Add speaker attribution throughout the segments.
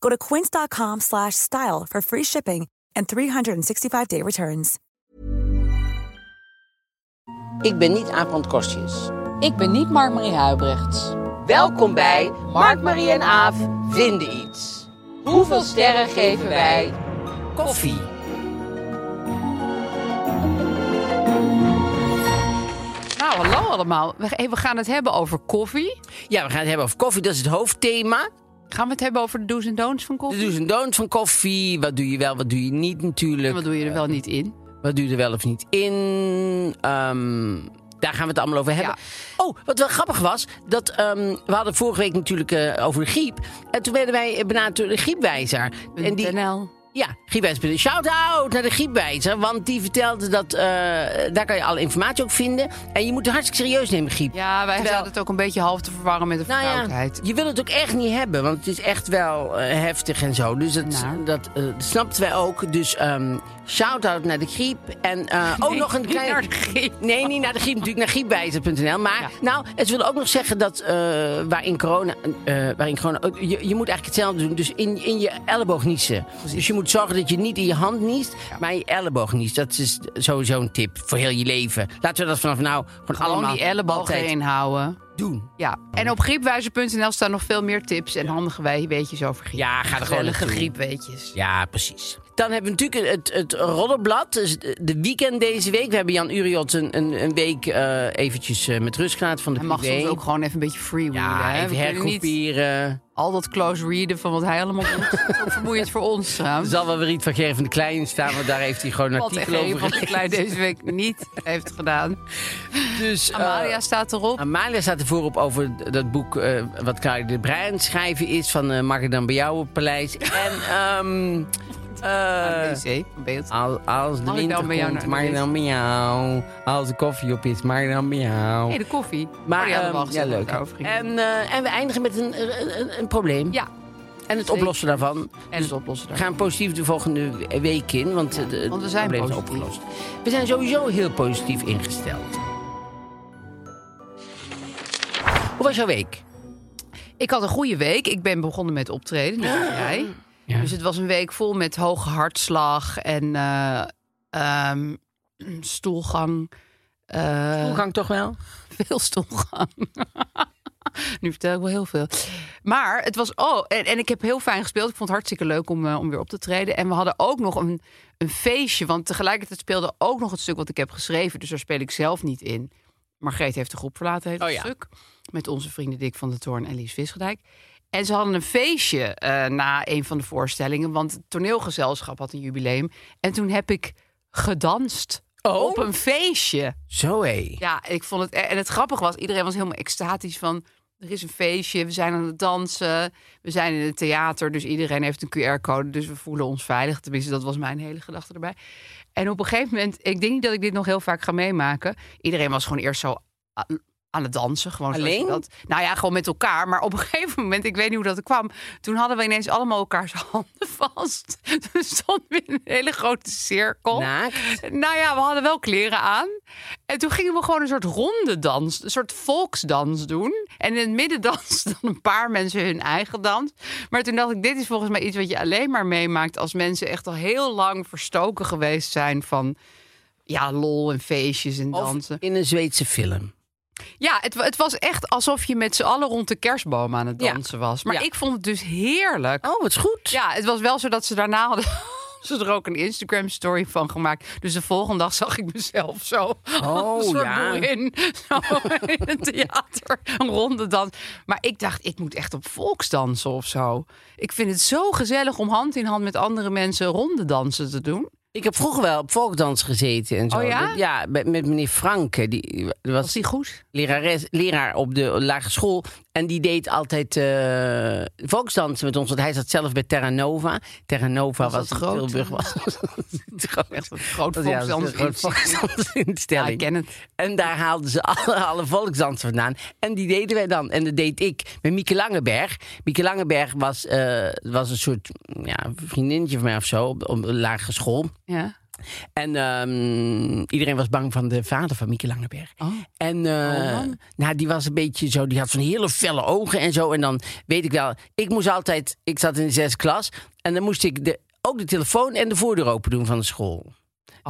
Speaker 1: Go to quince.com slash style for free shipping and 365-day returns.
Speaker 2: Ik ben niet Aaf Kostjes.
Speaker 3: Ik ben niet Mark-Marie Huibrechts.
Speaker 2: Welkom bij Mark, Marie en Aaf vinden iets. Hoeveel sterren geven wij koffie?
Speaker 3: Nou, hallo allemaal. We, hey, we gaan het hebben over koffie.
Speaker 2: Ja, we gaan het hebben over koffie. Dat is het hoofdthema. Dus
Speaker 3: Gaan we het hebben over de do's en don'ts van
Speaker 2: De
Speaker 3: koffie?
Speaker 2: do's en don'ts van koffie. Wat doe je wel, wat doe je niet natuurlijk.
Speaker 3: En wat doe je er wel niet in?
Speaker 2: Wat doe je er wel of niet in? Ehm, daar gaan we het allemaal over hebben. Oh, wat wel grappig was, dat ehm, we hadden vorige week natuurlijk eh, over de griep. En toen werden wij eh, benaderd door de griepwijzer. En die,
Speaker 3: NL.
Speaker 2: Ja, griepwijzer. Shout-out naar de griepwijzer. Want die vertelde dat... eh, daar kan je alle informatie ook vinden. En je moet het hartstikke serieus nemen, griep.
Speaker 3: Ja, wij
Speaker 2: Terwijl-
Speaker 3: zaten het ook een beetje half te verwarren met de
Speaker 2: Nou ja,
Speaker 3: verkoudheid.
Speaker 2: je wil het ook echt niet hebben. Want het is echt wel eh, heftig en zo. Dus dat,
Speaker 3: Nou.
Speaker 2: dat, eh, dat snapten wij ook. Dus ehm shout-out naar de griep. En eh, ook
Speaker 3: Nee,
Speaker 2: nog een
Speaker 3: niet
Speaker 2: klein...
Speaker 3: naar de griep.
Speaker 2: Nee, niet naar de griep. Natuurlijk naar griepwijzer.nl. Maar
Speaker 3: Ja.
Speaker 2: nou, het wil ook nog zeggen dat eh, waarin corona... eh, waarin corona oh, je, je moet eigenlijk hetzelfde doen. Dus in, in je elleboog niezen. Dus je moet zorgen dat je niet in je hand niest, maar in je elleboog niest. Dat is sowieso een tip voor heel je leven. Laten we dat vanaf nou gewoon,
Speaker 3: Gewoon
Speaker 2: allemaal
Speaker 3: die ellebogen
Speaker 2: altijd
Speaker 3: erin houden.
Speaker 2: doen.
Speaker 3: Ja. En op griepwijzer.nl staan nog veel meer tips en handige wij- weetjes over griep.
Speaker 2: Ja, ga er gewoon
Speaker 3: Gezellige
Speaker 2: naartoe.
Speaker 3: griepweetjes.
Speaker 2: Ja, precies. Dan hebben we natuurlijk het, het Roddelblad. Dus de weekend deze week. We hebben Jan Uriot een, een, een week eh, eventjes eh, met rust gelaten van de
Speaker 3: Hij mag
Speaker 2: privé.
Speaker 3: soms ook gewoon even een beetje freewheelen.
Speaker 2: ja,
Speaker 3: hè.
Speaker 2: even
Speaker 3: We kunnen niet
Speaker 2: hergroeperen.
Speaker 3: al dat close readen van wat hij allemaal doet. Dat is ook vermoeiend voor ons
Speaker 2: Er
Speaker 3: trouwens.
Speaker 2: zal wel weer iets van Gerrit van de Klein in staan, want daar heeft hij gewoon een
Speaker 3: Wat echt
Speaker 2: artikel
Speaker 3: een van
Speaker 2: over
Speaker 3: de
Speaker 2: gelezen.
Speaker 3: klein deze week niet heeft gedaan.
Speaker 2: Dus, eh,
Speaker 3: Amalia staat erop.
Speaker 2: Amalia staat er voorop over dat boek eh, wat Karin de Breij aan het schrijven is van eh Mag ik dan bij jou op paleis? En ehm eh,
Speaker 3: ABC, van beeld.
Speaker 2: Als, als de
Speaker 3: Mag ik
Speaker 2: winter
Speaker 3: dan bij jou
Speaker 2: komt,
Speaker 3: naar
Speaker 2: mag
Speaker 3: de
Speaker 2: ik dan bij jou. Als de koffie op is, mag ik dan bij jou.
Speaker 3: Hey, de koffie.
Speaker 2: maar
Speaker 3: Maar ja,
Speaker 2: ehm, ja, leuk. En, eh, en we eindigen met een, een, een- een probleem.
Speaker 3: ja,
Speaker 2: en het oplossen daarvan. Dus
Speaker 3: en het oplossen
Speaker 2: We
Speaker 3: daarvan.
Speaker 2: gaan positief de volgende week in, want eh, de- het
Speaker 3: want we zijn
Speaker 2: probleem is
Speaker 3: positief.
Speaker 2: opgelost. We zijn sowieso heel positief ingesteld. Hoe was jouw week?
Speaker 3: Ik had een goede week. Ik ben begonnen met optreden, net als jij.
Speaker 2: Ah. Ja.
Speaker 3: Dus het was een week vol met hoge hartslag en eh, ehm, stoelgang. Eh,
Speaker 2: Toegang toch wel?
Speaker 3: veel stoelgang. nu vertel ik wel heel veel. Maar het was. Oh, en, en ik heb heel fijn gespeeld. Ik vond het hartstikke leuk om, eh, om weer op te treden. En we hadden ook nog een, een feestje. Want tegelijkertijd speelde ook nog het stuk wat ik heb geschreven. Dus daar speel ik zelf niet in. Margreet heeft de groep verlaten, heeft
Speaker 2: Oh
Speaker 3: het
Speaker 2: ja.
Speaker 3: stuk. Met onze vrienden Dick van de Toorn en Lies Visgedijk. En ze hadden een feestje eh, na een van de voorstellingen. Want het toneelgezelschap had een jubileum. En toen heb ik gedanst
Speaker 2: Oh.
Speaker 3: op een feestje.
Speaker 2: Zo hé.
Speaker 3: Ja, ik vond het. e-, En het grappige was, iedereen was helemaal extatisch van. Er is een feestje, we zijn aan het dansen, we zijn in het theater, dus iedereen heeft een QR-code, dus we voelen ons veilig. Tenminste, dat was mijn hele gedachte erbij. En op een gegeven moment, ik denk niet dat ik dit nog heel vaak ga meemaken. Iedereen was gewoon eerst zo a- aan het dansen, gewoon zoals je
Speaker 2: Alleen?
Speaker 3: Dat, nou ja, gewoon met elkaar. Maar op een gegeven moment, ik weet niet hoe dat er kwam, toen hadden we ineens allemaal elkaars handen vast. Dus Toen stonden we in een hele grote cirkel.
Speaker 2: Naakt.
Speaker 3: Nou ja, we hadden wel kleren aan. En toen gingen we gewoon een soort ronde dans, een soort volksdans doen. En in het midden dansten dan een paar mensen hun eigen dans. Maar toen dacht ik, dit is volgens mij iets wat je alleen maar meemaakt als mensen echt al heel lang verstoken geweest zijn van ja, lol en feestjes en
Speaker 2: Of
Speaker 3: dansen.
Speaker 2: in een Zweedse film.
Speaker 3: Ja, het, wa- het was echt alsof je met z'n allen rond de kerstboom aan het
Speaker 2: Ja.
Speaker 3: dansen was. Maar
Speaker 2: Ja.
Speaker 3: ik vond het dus heerlijk.
Speaker 2: Oh, wat goed.
Speaker 3: Ja, het was wel zo dat ze daarna hadden ze er ook een Instagram story van gemaakt. Dus de volgende dag zag ik mezelf zo. als een soort
Speaker 2: Oh, ja.
Speaker 3: boerin. Zo in een theater. Een ronde dans. Maar ik dacht, ik moet echt op volksdansen of zo. Ik vind het zo gezellig om hand in hand met andere mensen ronde dansen te doen.
Speaker 2: Ik heb vroeger wel op volkdans gezeten en zo.
Speaker 3: Oh ja?
Speaker 2: Dat- ja, met, met meneer Franke. Die was,
Speaker 3: Was die goed?
Speaker 2: lerares, leraar op de lagere school. En die deed altijd eh volksdansen met ons. Want hij zat zelf bij Terra Nova. Terra Nova was,
Speaker 3: Was dat groot?
Speaker 2: Tilburg was. het groot.
Speaker 3: Echt een groot
Speaker 2: Ja, dat is een
Speaker 3: volksdans.
Speaker 2: groot volksdansinstelling.
Speaker 3: Ja, ik ken het.
Speaker 2: En daar haalden ze alle, alle volksdansen vandaan. En die deden wij dan. En dat deed ik met Mieke Langeberg. Mieke Langeberg was, eh, was een soort ja, vriendinnetje van mij of zo. Op, op de lagere school.
Speaker 3: Ja.
Speaker 2: En ehm, iedereen was bang van de vader van Mieke Langeberg.
Speaker 3: Oh.
Speaker 2: En eh,
Speaker 3: man.
Speaker 2: nou, die was een beetje zo, die had van hele felle ogen en zo. En dan weet ik wel, ik moest altijd, ik zat in de zesde klas. En dan moest ik de, ook de telefoon en de voordeur open doen van de school. Dus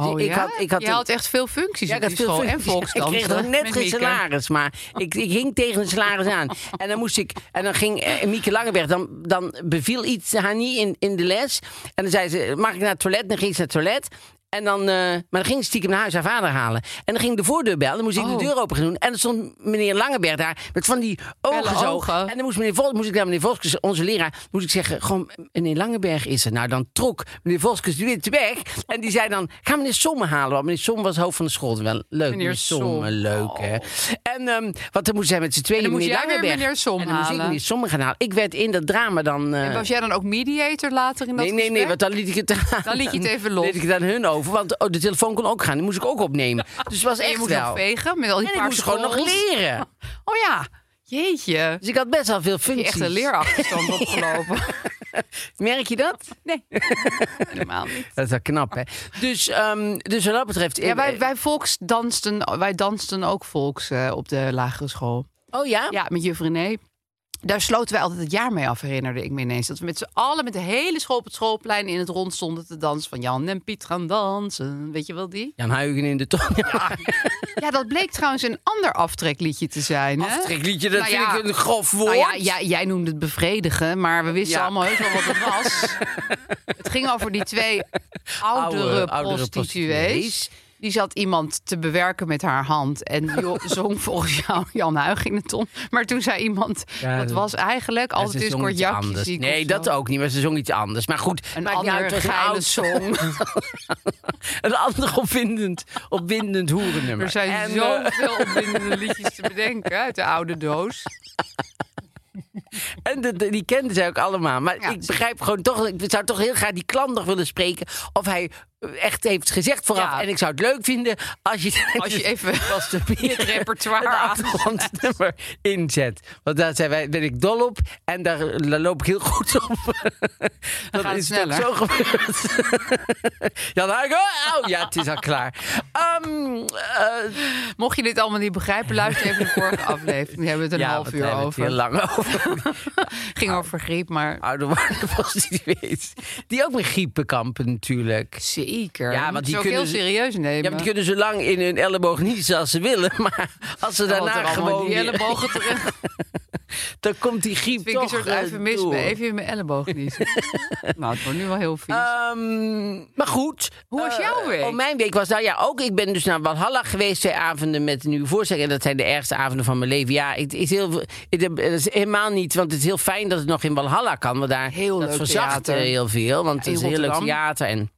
Speaker 3: Oh,
Speaker 2: ik
Speaker 3: ja?
Speaker 2: had- ik had
Speaker 3: Je
Speaker 2: een-
Speaker 3: had echt veel functies
Speaker 2: Ja,
Speaker 3: op die school en
Speaker 2: functies.
Speaker 3: volksdansen.
Speaker 2: Ik kreeg nog net
Speaker 3: met
Speaker 2: geen
Speaker 3: Mieke.
Speaker 2: salaris, maar ik, ik hing tegen een salaris aan. En dan moest ik, en dan ging eh, Mieke Langeberg, dan, dan beviel iets haar niet in, in de les. En dan zei ze, mag ik naar het toilet? Dan ging ze naar het toilet. En dan, eh, maar dan ging ze stiekem naar huis haar vader halen. En dan ging de voordeur bellen. Dan moest ik
Speaker 3: Oh.
Speaker 2: de deur open gaan doen. En dan stond meneer Langeberg daar met van die ogen
Speaker 3: Felle
Speaker 2: zo.
Speaker 3: ogen.
Speaker 2: En dan moest, meneer Vos, moest ik naar meneer Voskes, onze leraar, moest ik zeggen, gewoon, meneer Langeberg is er. Nou, dan trok meneer Voskes de witte weg. En die zei dan, ga meneer Somme halen. Want meneer Somme was hoofd van de school. Wel leuk, meneer, Somme,
Speaker 3: Somme,
Speaker 2: leuk hè. En ehm, want dan moesten zij met z'n tweeën
Speaker 3: Oh. En dan moest
Speaker 2: meneer
Speaker 3: jij weer
Speaker 2: Langeberg.
Speaker 3: meneer Somme
Speaker 2: en dan moest ik
Speaker 3: halen.
Speaker 2: meneer Somme gaan halen. Ik werd in dat drama dan... eh,
Speaker 3: En was jij dan ook mediator later in dat
Speaker 2: Nee, nee, nee,
Speaker 3: gesprek?
Speaker 2: want dan liet ik het aan.
Speaker 3: Dan liet je het even los.
Speaker 2: liet ik het aan hun over, want oh, de telefoon kon ook gaan. Die moest ik ook opnemen. Dus het was
Speaker 3: En
Speaker 2: echt
Speaker 3: je moest
Speaker 2: wel.
Speaker 3: nog vegen met al die
Speaker 2: en ik
Speaker 3: paarse
Speaker 2: moest gewoon nog
Speaker 3: korrels.
Speaker 2: leren.
Speaker 3: Oh ja, jeetje.
Speaker 2: Dus ik had best wel veel
Speaker 3: Je
Speaker 2: functies.
Speaker 3: hebt echt een leerachterstand opgelopen.
Speaker 2: Merk je dat?
Speaker 3: Nee, helemaal niet.
Speaker 2: Dat is wel knap, hè? Dus, ehm, dus wat dat betreft...
Speaker 3: Ja, wij, wij volksdansten, wij dansten ook volks eh, op de lagere school.
Speaker 2: Oh ja?
Speaker 3: Ja, met juf René. Daar sloten wij altijd het jaar mee af, herinnerde ik me ineens. Dat we met z'n allen, met de hele school op het schoolplein... in het rond stonden te dansen. Van Jan en Piet gaan dansen. Weet je wel die?
Speaker 2: Jan Huigen in de ton.
Speaker 3: Ja, dat bleek trouwens een ander aftrekliedje te zijn. Hè?
Speaker 2: Aftrekliedje, dat
Speaker 3: Nou
Speaker 2: vind
Speaker 3: ja.
Speaker 2: ik een grof woord.
Speaker 3: Nou ja, ja, jij noemde het bevredigen, maar we wisten
Speaker 2: Ja.
Speaker 3: allemaal heus wel wat het was. het ging over die twee oudere,
Speaker 2: Oude- oudere prostituees.
Speaker 3: prostituees. Die zat iemand te bewerken met haar hand. En die zong volgens jou Jan Huig in de ton. Maar toen zei iemand,
Speaker 2: Ja,
Speaker 3: dat
Speaker 2: dat-
Speaker 3: was eigenlijk
Speaker 2: Ja,
Speaker 3: altijd
Speaker 2: ze
Speaker 3: is
Speaker 2: zong
Speaker 3: kort
Speaker 2: iets
Speaker 3: jakje
Speaker 2: anders.
Speaker 3: ziek of
Speaker 2: Nee,
Speaker 3: zo.
Speaker 2: dat ook niet, maar ze zong iets anders. Maar goed,
Speaker 3: Een
Speaker 2: maakt niet uit,
Speaker 3: ander
Speaker 2: het was een
Speaker 3: geile
Speaker 2: oud-
Speaker 3: song.
Speaker 2: een ander opwindend, opwindend hoerennummer.
Speaker 3: Er zijn
Speaker 2: En, eh,
Speaker 3: zoveel opwindende liedjes te bedenken uit de oude doos.
Speaker 2: en de- de- die kenden zij ook allemaal. Maar
Speaker 3: Ja.
Speaker 2: ik begrijp gewoon toch... Ik zou toch heel graag die klant nog willen spreken... of hij eh, echt heeft gezegd vooraf.
Speaker 3: Ja.
Speaker 2: En ik zou het leuk vinden als je...
Speaker 3: Als je even
Speaker 2: was de
Speaker 3: het repertoire
Speaker 2: het
Speaker 3: aan-
Speaker 2: achtergrondnummer inzet. Want daar zijn wij, ben ik dol op en daar, daar loop ik heel goed op.
Speaker 3: gaat het
Speaker 2: is toch
Speaker 3: sneller.
Speaker 2: zo gebeurd. Jan Huigo, oh ja, het is al klaar. Ehm, eh,
Speaker 3: Mocht je dit allemaal niet begrijpen, luister even de vorige aflevering. We hebben we het een
Speaker 2: ja,
Speaker 3: half
Speaker 2: wat
Speaker 3: uur
Speaker 2: hebben we het
Speaker 3: over.
Speaker 2: Heel Ah. lang over. Oh,
Speaker 3: ging over griep, maar
Speaker 2: Oude prostituees. Die ook met griepen kampen natuurlijk.
Speaker 3: zeker.
Speaker 2: Ja,
Speaker 3: Ja,
Speaker 2: want
Speaker 3: want
Speaker 2: die
Speaker 3: ook
Speaker 2: kunnen
Speaker 3: heel
Speaker 2: ze-
Speaker 3: serieus nemen.
Speaker 2: Ja, maar die kunnen zo lang in hun elleboog niezen als ze willen. Maar als ze
Speaker 3: Want er
Speaker 2: daarna
Speaker 3: allemaal
Speaker 2: gewoon
Speaker 3: die
Speaker 2: weer-
Speaker 3: ellebogen terug.
Speaker 2: Dan komt die griep
Speaker 3: Vind ik
Speaker 2: toch
Speaker 3: een soort
Speaker 2: eh,
Speaker 3: eufemisme.
Speaker 2: door.
Speaker 3: Even in mijn elleboog niet. nou, het wordt nu wel heel
Speaker 2: Eh,
Speaker 3: vies.
Speaker 2: Ehm, maar goed.
Speaker 3: Hoe was
Speaker 2: Eh,
Speaker 3: jouw week?
Speaker 2: Oh, mijn week was nou ja ook. Ik ben dus naar Walhalla geweest twee avonden met een nieuwe voorstelling. En dat zijn de ergste avonden van mijn leven. Ja, het is, heel, het het is helemaal niet. Want het is heel fijn dat het nog in Walhalla kan. Want daar
Speaker 3: Heel
Speaker 2: dat
Speaker 3: leuk
Speaker 2: verzacht eh,
Speaker 3: theater.
Speaker 2: heel veel. Want
Speaker 3: Ja,
Speaker 2: het is
Speaker 3: in
Speaker 2: een heel leuk
Speaker 3: Rotterdam.
Speaker 2: theater. En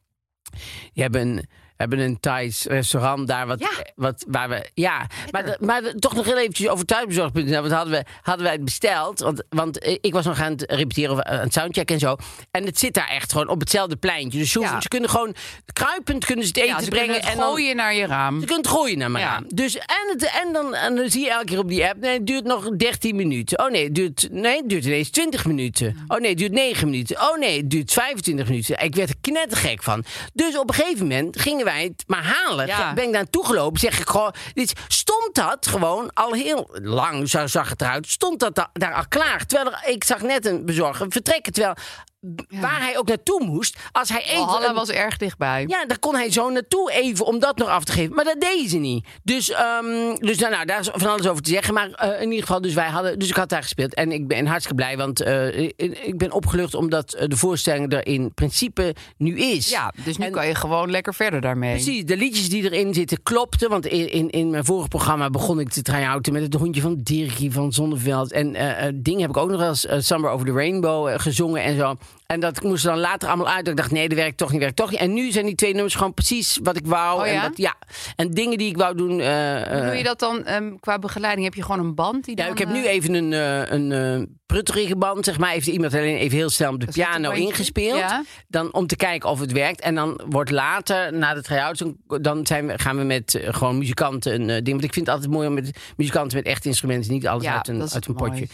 Speaker 2: die hebben een, hebben een Thais restaurant daar. Wat,
Speaker 3: Ja.
Speaker 2: wat, waar we, ja. Maar, dat- maar dat- toch nog heel eventjes over thuisbezorgd.nl. Want hadden, we, hadden wij het besteld. Want, want eh, ik was nog aan het repeteren of eh, aan het soundcheck en zo. En het zit daar echt gewoon op hetzelfde pleintje. Dus ze, hoeven-
Speaker 3: Ja.
Speaker 2: ze kunnen gewoon kruipend kunnen ze het eten
Speaker 3: ja, ze
Speaker 2: brengen.
Speaker 3: kunnen het
Speaker 2: en dan-
Speaker 3: gooien naar je
Speaker 2: je
Speaker 3: raam.
Speaker 2: kunt gooien naar mijn
Speaker 3: Ja.
Speaker 2: raam. Dus en, het, en, dan, en dan zie je elke keer op die app... Nee, het duurt nog 13 minuten. Oh nee, het duurt, nee, het duurt ineens 20 minuten. Oh nee, het duurt 9 minuten. Oh nee, het duurt 25 minuten. Ik werd er knettergek van. Dus op een gegeven moment gingen wij het maar halen.
Speaker 3: Ja.
Speaker 2: Ben ik daar naartoe gelopen, zeg ik gewoon... Dit, stond dat gewoon al heel lang, zo zag het eruit... stond dat da- daar al klaar. Terwijl er- ik zag net een bezorger vertrekken. Terwijl waar hij ook naartoe moest. Als hij even...
Speaker 3: Valhalla was erg dichtbij.
Speaker 2: Ja, daar kon hij zo naartoe even om dat nog af te geven. Maar dat deden ze niet. Dus, ehm, dus nou, nou, daar is van alles over te zeggen. Maar eh, in ieder geval, dus, wij hadden, dus ik had daar gespeeld. En ik ben hartstikke blij, want eh, ik- ik ben opgelucht omdat eh, de voorstelling er in principe nu is.
Speaker 3: Ja, dus nu
Speaker 2: En-
Speaker 3: kan je gewoon lekker verder daarmee.
Speaker 2: Precies, de liedjes die erin zitten klopten. Want in, in, in mijn vorige programma begon ik te try-outen met het hondje van Dirkie van Zonneveld. En eh eh, Ding heb ik ook nog wel eens eh, Summer Over the Rainbow eh, gezongen en zo. En dat moest er dan later allemaal uit. Dat ik dacht, nee, dat werkt toch niet, werkt toch niet. En nu zijn die twee nummers gewoon precies wat ik wou.
Speaker 3: Oh ja?
Speaker 2: En, dat, ja. en dingen die ik wou doen. eh, eh,
Speaker 3: Hoe doe je dat dan ehm, qua begeleiding? Heb je gewoon een band? Die
Speaker 2: ja,
Speaker 3: dan,
Speaker 2: ik heb nu
Speaker 3: eh,
Speaker 2: even een, eh een eh, prutterige band, zeg maar. Heeft iemand alleen even heel snel op de
Speaker 3: Dat is een
Speaker 2: piano
Speaker 3: bandje.
Speaker 2: ingespeeld.
Speaker 3: Ja.
Speaker 2: Dan om te kijken of het werkt. En dan wordt later, na de try-outs, dan- dan zijn we, gaan we met eh, gewoon muzikanten een eh, ding. Want ik vind het altijd mooi om met muzikanten met echt instrumenten, niet alles
Speaker 3: Ja,
Speaker 2: uit een,
Speaker 3: dat is
Speaker 2: uit een
Speaker 3: mooi.
Speaker 2: potje.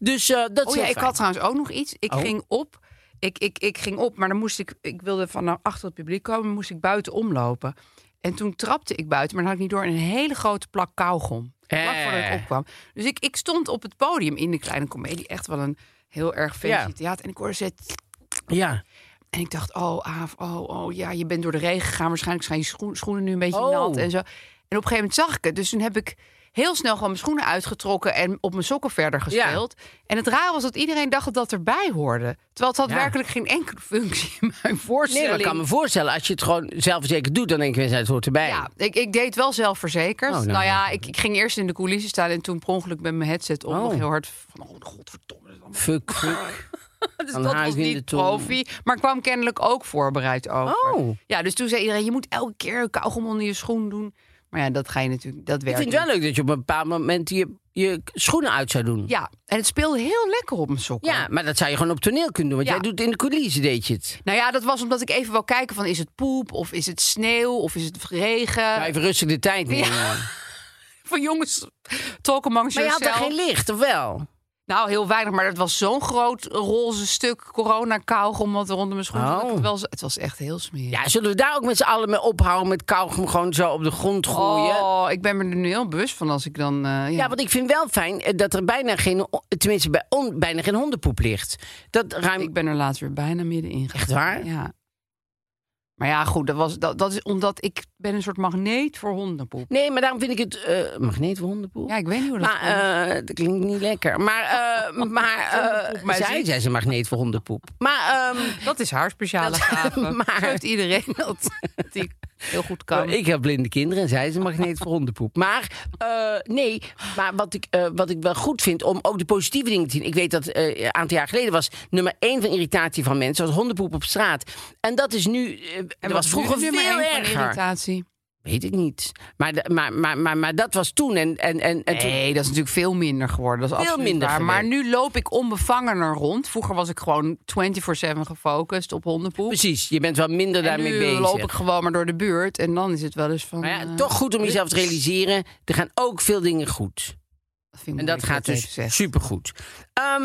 Speaker 2: Dus eh, dat
Speaker 3: Oh
Speaker 2: is
Speaker 3: ja,
Speaker 2: heel
Speaker 3: ik
Speaker 2: fijn.
Speaker 3: had trouwens ook nog iets. Ik
Speaker 2: Oh.
Speaker 3: ging op. Ik, ik, ik ging op, maar dan moest ik. Ik wilde van nou achter het publiek komen, moest ik buiten omlopen. En toen trapte ik buiten, maar dan had ik niet door een hele grote plak kauwgom. Vlak voordat ik
Speaker 2: Eh.
Speaker 3: opkwam. Dus ik, ik stond op het podium in de kleine komedie. Echt wel een heel erg fancy
Speaker 2: Ja.
Speaker 3: theater. En ik hoorde ze.
Speaker 2: Ja.
Speaker 3: En ik dacht, oh Aaf, oh, oh ja, je bent door de regen gegaan. Waarschijnlijk zijn je schoen- schoenen nu een beetje
Speaker 2: Oh.
Speaker 3: nat en zo. En op een gegeven moment zag ik het. Dus toen heb ik heel snel gewoon mijn schoenen uitgetrokken en op mijn sokken verder gespeeld. En het rare was dat iedereen dacht dat dat erbij hoorde. Terwijl het had
Speaker 2: Ja.
Speaker 3: werkelijk geen enkele functie in mijn
Speaker 2: Nee,
Speaker 3: voorstelling.
Speaker 2: maar ik kan me voorstellen, als je het gewoon zelfverzekerd doet, dan denk je, mensen, het hoort erbij.
Speaker 3: Ja, ik, ik deed het wel zelfverzekerd.
Speaker 2: Oh, nou,
Speaker 3: nou, ja, ik, ik ging eerst in de coulissen staan en toen per ongeluk met mijn headset op
Speaker 2: Oh.
Speaker 3: nog heel hard van, oh godverdomme. dat is allemaal-
Speaker 2: Fuck, fuck.
Speaker 3: Dus
Speaker 2: Van
Speaker 3: dat
Speaker 2: Huis
Speaker 3: was
Speaker 2: in de
Speaker 3: niet
Speaker 2: Tong.
Speaker 3: profi, maar kwam kennelijk ook voorbereid over.
Speaker 2: Oh.
Speaker 3: Ja, dus toen zei iedereen, je moet elke keer een kauwgom onder je schoen doen. Maar ja, dat ga je natuurlijk, dat
Speaker 2: ik
Speaker 3: werkt
Speaker 2: vind het
Speaker 3: niet.
Speaker 2: wel leuk dat je op een bepaald moment je, je schoenen uit zou doen.
Speaker 3: Ja, en het speelde heel lekker op mijn sokken.
Speaker 2: Ja, maar dat zou je gewoon op toneel kunnen doen. Want
Speaker 3: Ja.
Speaker 2: jij doet in de coulissen, deed je het.
Speaker 3: Nou ja, dat was omdat ik even wou kijken van, is het poep of is het sneeuw of is het regen?
Speaker 2: Nou, even rustig de tijd nemen.
Speaker 3: Van jongens, talk amongst
Speaker 2: Maar je had daar
Speaker 3: yourself.
Speaker 2: geen licht, of wel?
Speaker 3: Nou, heel weinig, maar het was zo'n groot roze stuk corona kauwgom wat er onder mijn schoen zat.
Speaker 2: Oh.
Speaker 3: Het was- Het was echt heel smerig.
Speaker 2: Ja, zullen we daar ook met z'n allen mee ophouden met kauwgom gewoon zo op de grond gooien?
Speaker 3: Oh, ik ben me er nu heel bewust van als ik dan... eh,
Speaker 2: Ja, want ik vind wel fijn eh, dat er bijna geen, tenminste bij on, bijna geen hondenpoep ligt. Dat ruim
Speaker 3: Ik ben er later weer bijna middenin gegaan.
Speaker 2: Echt waar?
Speaker 3: Ja. Maar ja, goed, dat, was, dat, dat is omdat ik ben een soort magneet voor hondenpoep.
Speaker 2: Nee, maar daarom vind ik het eh magneet voor hondenpoep.
Speaker 3: Ja, ik weet niet hoe dat
Speaker 2: maar eh, dat klinkt niet lekker. Maar, eh, maar eh,
Speaker 3: maar
Speaker 2: zij
Speaker 3: zie-
Speaker 2: zijn ze magneet voor hondenpoep. Maar ehm,
Speaker 3: komt. Dat is haar speciale
Speaker 2: dat-
Speaker 3: gave.
Speaker 2: maar-
Speaker 3: Zo heeft iedereen dat die heel goed kan.
Speaker 2: Ik heb blinde kinderen en zij is een magneet voor hondenpoep. Maar eh, nee, maar wat ik, eh, wat ik wel goed vind om ook de positieve dingen te zien. Ik weet dat eh, een aantal jaar geleden was nummer één van irritatie van mensen was hondenpoep op straat. En dat is nu. eh, dat was vroeger
Speaker 3: nu nummer
Speaker 2: veel
Speaker 3: één van
Speaker 2: erger.
Speaker 3: irritatie.
Speaker 2: Weet ik niet. Maar, de- maar, maar, maar, maar dat was toen. En, en, en, en toen-
Speaker 3: Nee, dat is natuurlijk veel minder geworden. Dat is
Speaker 2: Veel
Speaker 3: absoluut
Speaker 2: minder
Speaker 3: waar.
Speaker 2: geworden.
Speaker 3: Maar nu loop ik onbevangener rond. Vroeger was ik gewoon 24-7 gefocust op hondenpoep.
Speaker 2: Precies, je bent wel minder
Speaker 3: en
Speaker 2: daarmee
Speaker 3: nu
Speaker 2: bezig.
Speaker 3: loop ik gewoon maar door de buurt. En dan is het wel eens van...
Speaker 2: maar ja,
Speaker 3: eh,
Speaker 2: toch goed om jezelf te realiseren. Er gaan ook veel dingen goed.
Speaker 3: dat vind ik
Speaker 2: En
Speaker 3: moeilijk
Speaker 2: dat gaat
Speaker 3: even
Speaker 2: dus
Speaker 3: zeggen.
Speaker 2: supergoed. Ehm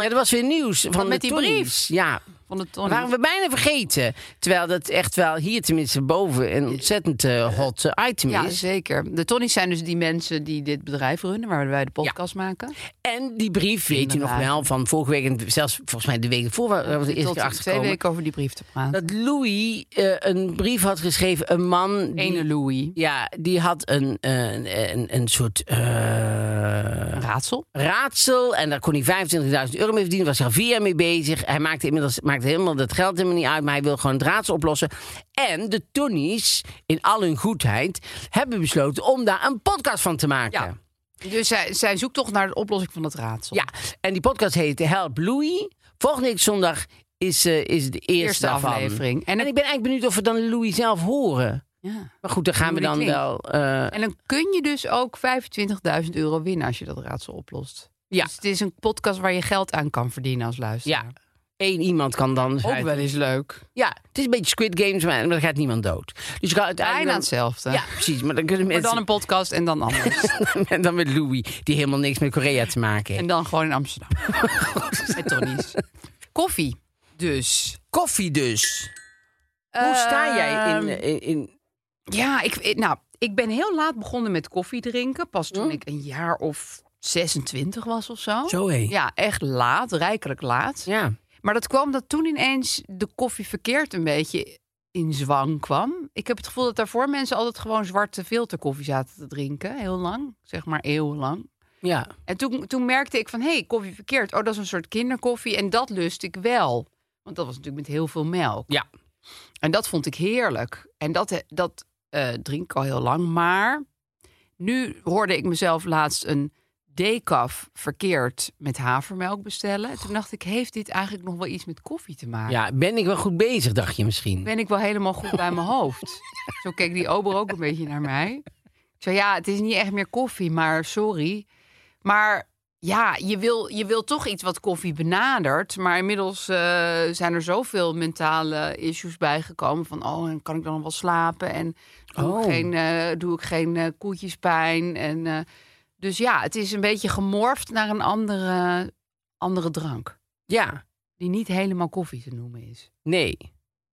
Speaker 2: er was weer nieuws van
Speaker 3: met
Speaker 2: de
Speaker 3: die Oh, brief.
Speaker 2: Tonys. Ja,
Speaker 3: Van de
Speaker 2: Dat
Speaker 3: Tony.
Speaker 2: waren we bijna vergeten. Terwijl dat echt wel hier tenminste boven een ontzettend eh, hot eh, item
Speaker 3: Ja,
Speaker 2: is.
Speaker 3: zeker. De Tonnies zijn dus die mensen die dit bedrijf runnen, waar wij de podcast maken.
Speaker 2: En die brief, weet u nog
Speaker 3: Inderdaad.
Speaker 2: wel, van vorige week... en zelfs volgens mij de week ervoor waar we de eerste
Speaker 3: Tot
Speaker 2: keer
Speaker 3: twee
Speaker 2: achterkomen...
Speaker 3: weken over die brief te praten.
Speaker 2: dat Louis eh, een brief had geschreven, een man... Die,
Speaker 3: Ene Louis.
Speaker 2: ja, die had een, eh, een, een, een soort... eh,
Speaker 3: Raadsel.
Speaker 2: raadsel. En daar kon hij 25.000 euro mee verdienen. Was hij al vier jaar mee bezig. Hij maakte inmiddels maakte helemaal dat geld helemaal niet uit. Maar hij wil gewoon het raadsel oplossen. En de Tonys, in al hun goedheid, hebben besloten om daar een podcast van te maken.
Speaker 3: Ja. Dus zij, zij zoekt toch naar de oplossing van dat raadsel.
Speaker 2: Ja, en die podcast heet Help Louis. Volgende week zondag is, eh, is de eerste,
Speaker 3: Eerste
Speaker 2: daarvan.
Speaker 3: aflevering.
Speaker 2: En,
Speaker 3: En, het-
Speaker 2: ik ben eigenlijk benieuwd of we dan Louis zelf horen.
Speaker 3: ja.
Speaker 2: Maar goed, daar gaan we
Speaker 3: Hoe die
Speaker 2: dan
Speaker 3: klinkt.
Speaker 2: wel. eh,
Speaker 3: en dan kun je dus ook 25.000 euro winnen als je dat raadsel oplost.
Speaker 2: Ja.
Speaker 3: Dus het is een podcast waar je geld aan kan verdienen als luisteraar.
Speaker 2: ja, één iemand kan dan.
Speaker 3: Ook wel eens leuk.
Speaker 2: Ja, het is een beetje Squid Games, maar maar dan gaat niemand dood. Dus je kan uiteindelijk.
Speaker 3: Bijna hetzelfde.
Speaker 2: Ja, precies. Maar dan kunnen
Speaker 3: Maar
Speaker 2: mensen.
Speaker 3: dan een podcast en dan anders.
Speaker 2: en dan met Louis, die helemaal niks met Korea te maken
Speaker 3: en
Speaker 2: heeft.
Speaker 3: dan gewoon in Amsterdam. Met Tonnies. Koffie. Dus.
Speaker 2: Koffie dus. Hoe sta jij in... eh, in, in-
Speaker 3: Ehm, Ja, ik, ik- nou, ik ben heel laat begonnen met koffie drinken. Pas toen ik een jaar of 26 was of zo.
Speaker 2: Hm? Zo hé.
Speaker 3: oh. Ja, echt laat, rijkelijk laat.
Speaker 2: Ja.
Speaker 3: Maar dat kwam dat toen ineens de koffie verkeerd een beetje in zwang kwam. Ik heb het gevoel dat daarvoor mensen altijd gewoon zwarte filterkoffie zaten te drinken. Heel lang, zeg maar eeuwenlang.
Speaker 2: Ja.
Speaker 3: En toen, toen merkte ik van, hé, hey, koffie verkeerd. Oh, dat is een soort kinderkoffie. En dat lust ik wel. Want dat was natuurlijk met heel veel melk.
Speaker 2: Ja.
Speaker 3: En dat vond ik heerlijk. En dat, dat eh, drink ik al heel lang. Maar nu hoorde ik mezelf laatst een decaf verkeerd met havermelk bestellen. En toen dacht ik, heeft dit eigenlijk nog wel iets met koffie te maken?
Speaker 2: ja, ben ik wel goed bezig, dacht je misschien.
Speaker 3: Ben ik wel helemaal goed bij mijn hoofd? Zo keek die ober ook een beetje naar mij. Ik zei, ja, het is niet echt meer koffie, maar sorry. Maar ja, je wil, je wil toch iets wat koffie benadert. Maar inmiddels eh, zijn er zoveel mentale issues bijgekomen. Van, oh, en kan ik dan wel slapen? En doe
Speaker 2: Oh.
Speaker 3: ik geen, eh, doe ik geen eh, koetjespijn? En, eh, dus ja, het is een beetje gemorfd naar een andere, andere drank.
Speaker 2: Ja,
Speaker 3: Die niet helemaal koffie te noemen is.
Speaker 2: nee.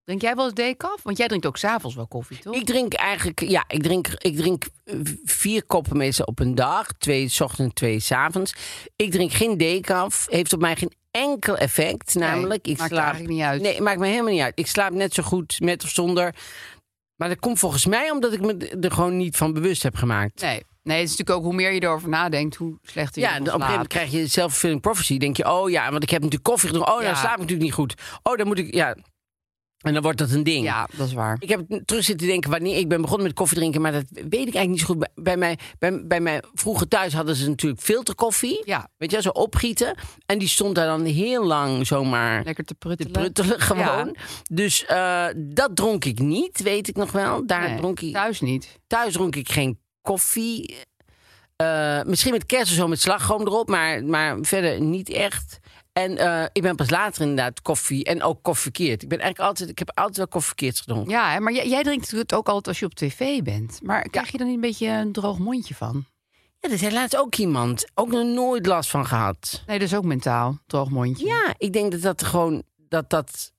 Speaker 3: Drink jij wel eens decaf? Want jij drinkt ook s'avonds wel koffie, toch?
Speaker 2: Ik drink eigenlijk, ja, ik drink, ik drink eh, vier koppen meestal op een dag. Twee 's ochtends, twee 's avonds. Ik drink geen decaf. Heeft op mij geen enkel effect. Namelijk, ik
Speaker 3: maakt
Speaker 2: slaap.
Speaker 3: eigenlijk niet uit.
Speaker 2: Nee, maakt me helemaal niet uit. Ik slaap net zo goed met of zonder. Maar dat komt volgens mij omdat ik me er gewoon niet van bewust heb gemaakt.
Speaker 3: Nee. nee, het is natuurlijk ook hoe meer je erover nadenkt, hoe slechter je
Speaker 2: Ja, op
Speaker 3: ervan
Speaker 2: een gegeven moment
Speaker 3: slaapt.
Speaker 2: krijg je self-fulfilling prophecy. Denk je, oh ja, want ik heb natuurlijk koffie gedronken. Oh,
Speaker 3: Ja.
Speaker 2: dan slaap ik natuurlijk niet goed. Oh, dan moet ik, ja. En dan wordt dat een ding.
Speaker 3: Ja, dat is waar.
Speaker 2: Ik heb terug zitten denken wanneer ik ben begonnen met koffie drinken, maar dat weet ik eigenlijk niet zo goed. Bij, bij mij, bij, bij mij vroeger thuis hadden ze natuurlijk filterkoffie.
Speaker 3: Ja.
Speaker 2: Weet je, wel, zo opgieten. En die stond daar dan heel lang zomaar
Speaker 3: Lekker te
Speaker 2: te
Speaker 3: pruttelen.
Speaker 2: pruttelen gewoon. Dus eh, dat dronk ik niet, weet ik nog wel. Daar
Speaker 3: Nee,
Speaker 2: dronk ik,
Speaker 3: Thuis niet.
Speaker 2: thuis dronk ik geen koffie. Eh, misschien met kerst of zo met slagroom erop, maar, maar verder niet echt. En eh, ik ben pas later inderdaad koffie en ook koffie verkeerd. Ik, ben eigenlijk altijd, ik heb altijd wel koffie verkeerd gedronken.
Speaker 3: Ja, hè, maar jij, jij drinkt het ook altijd als je op tv bent. Maar krijg je dan niet een beetje een droog mondje van?
Speaker 2: Ja, dat zei laatst ook iemand. Ook nog nooit last van gehad.
Speaker 3: Nee, dat is ook mentaal. Droog mondje.
Speaker 2: Ja, ik denk dat dat gewoon... Dat dat...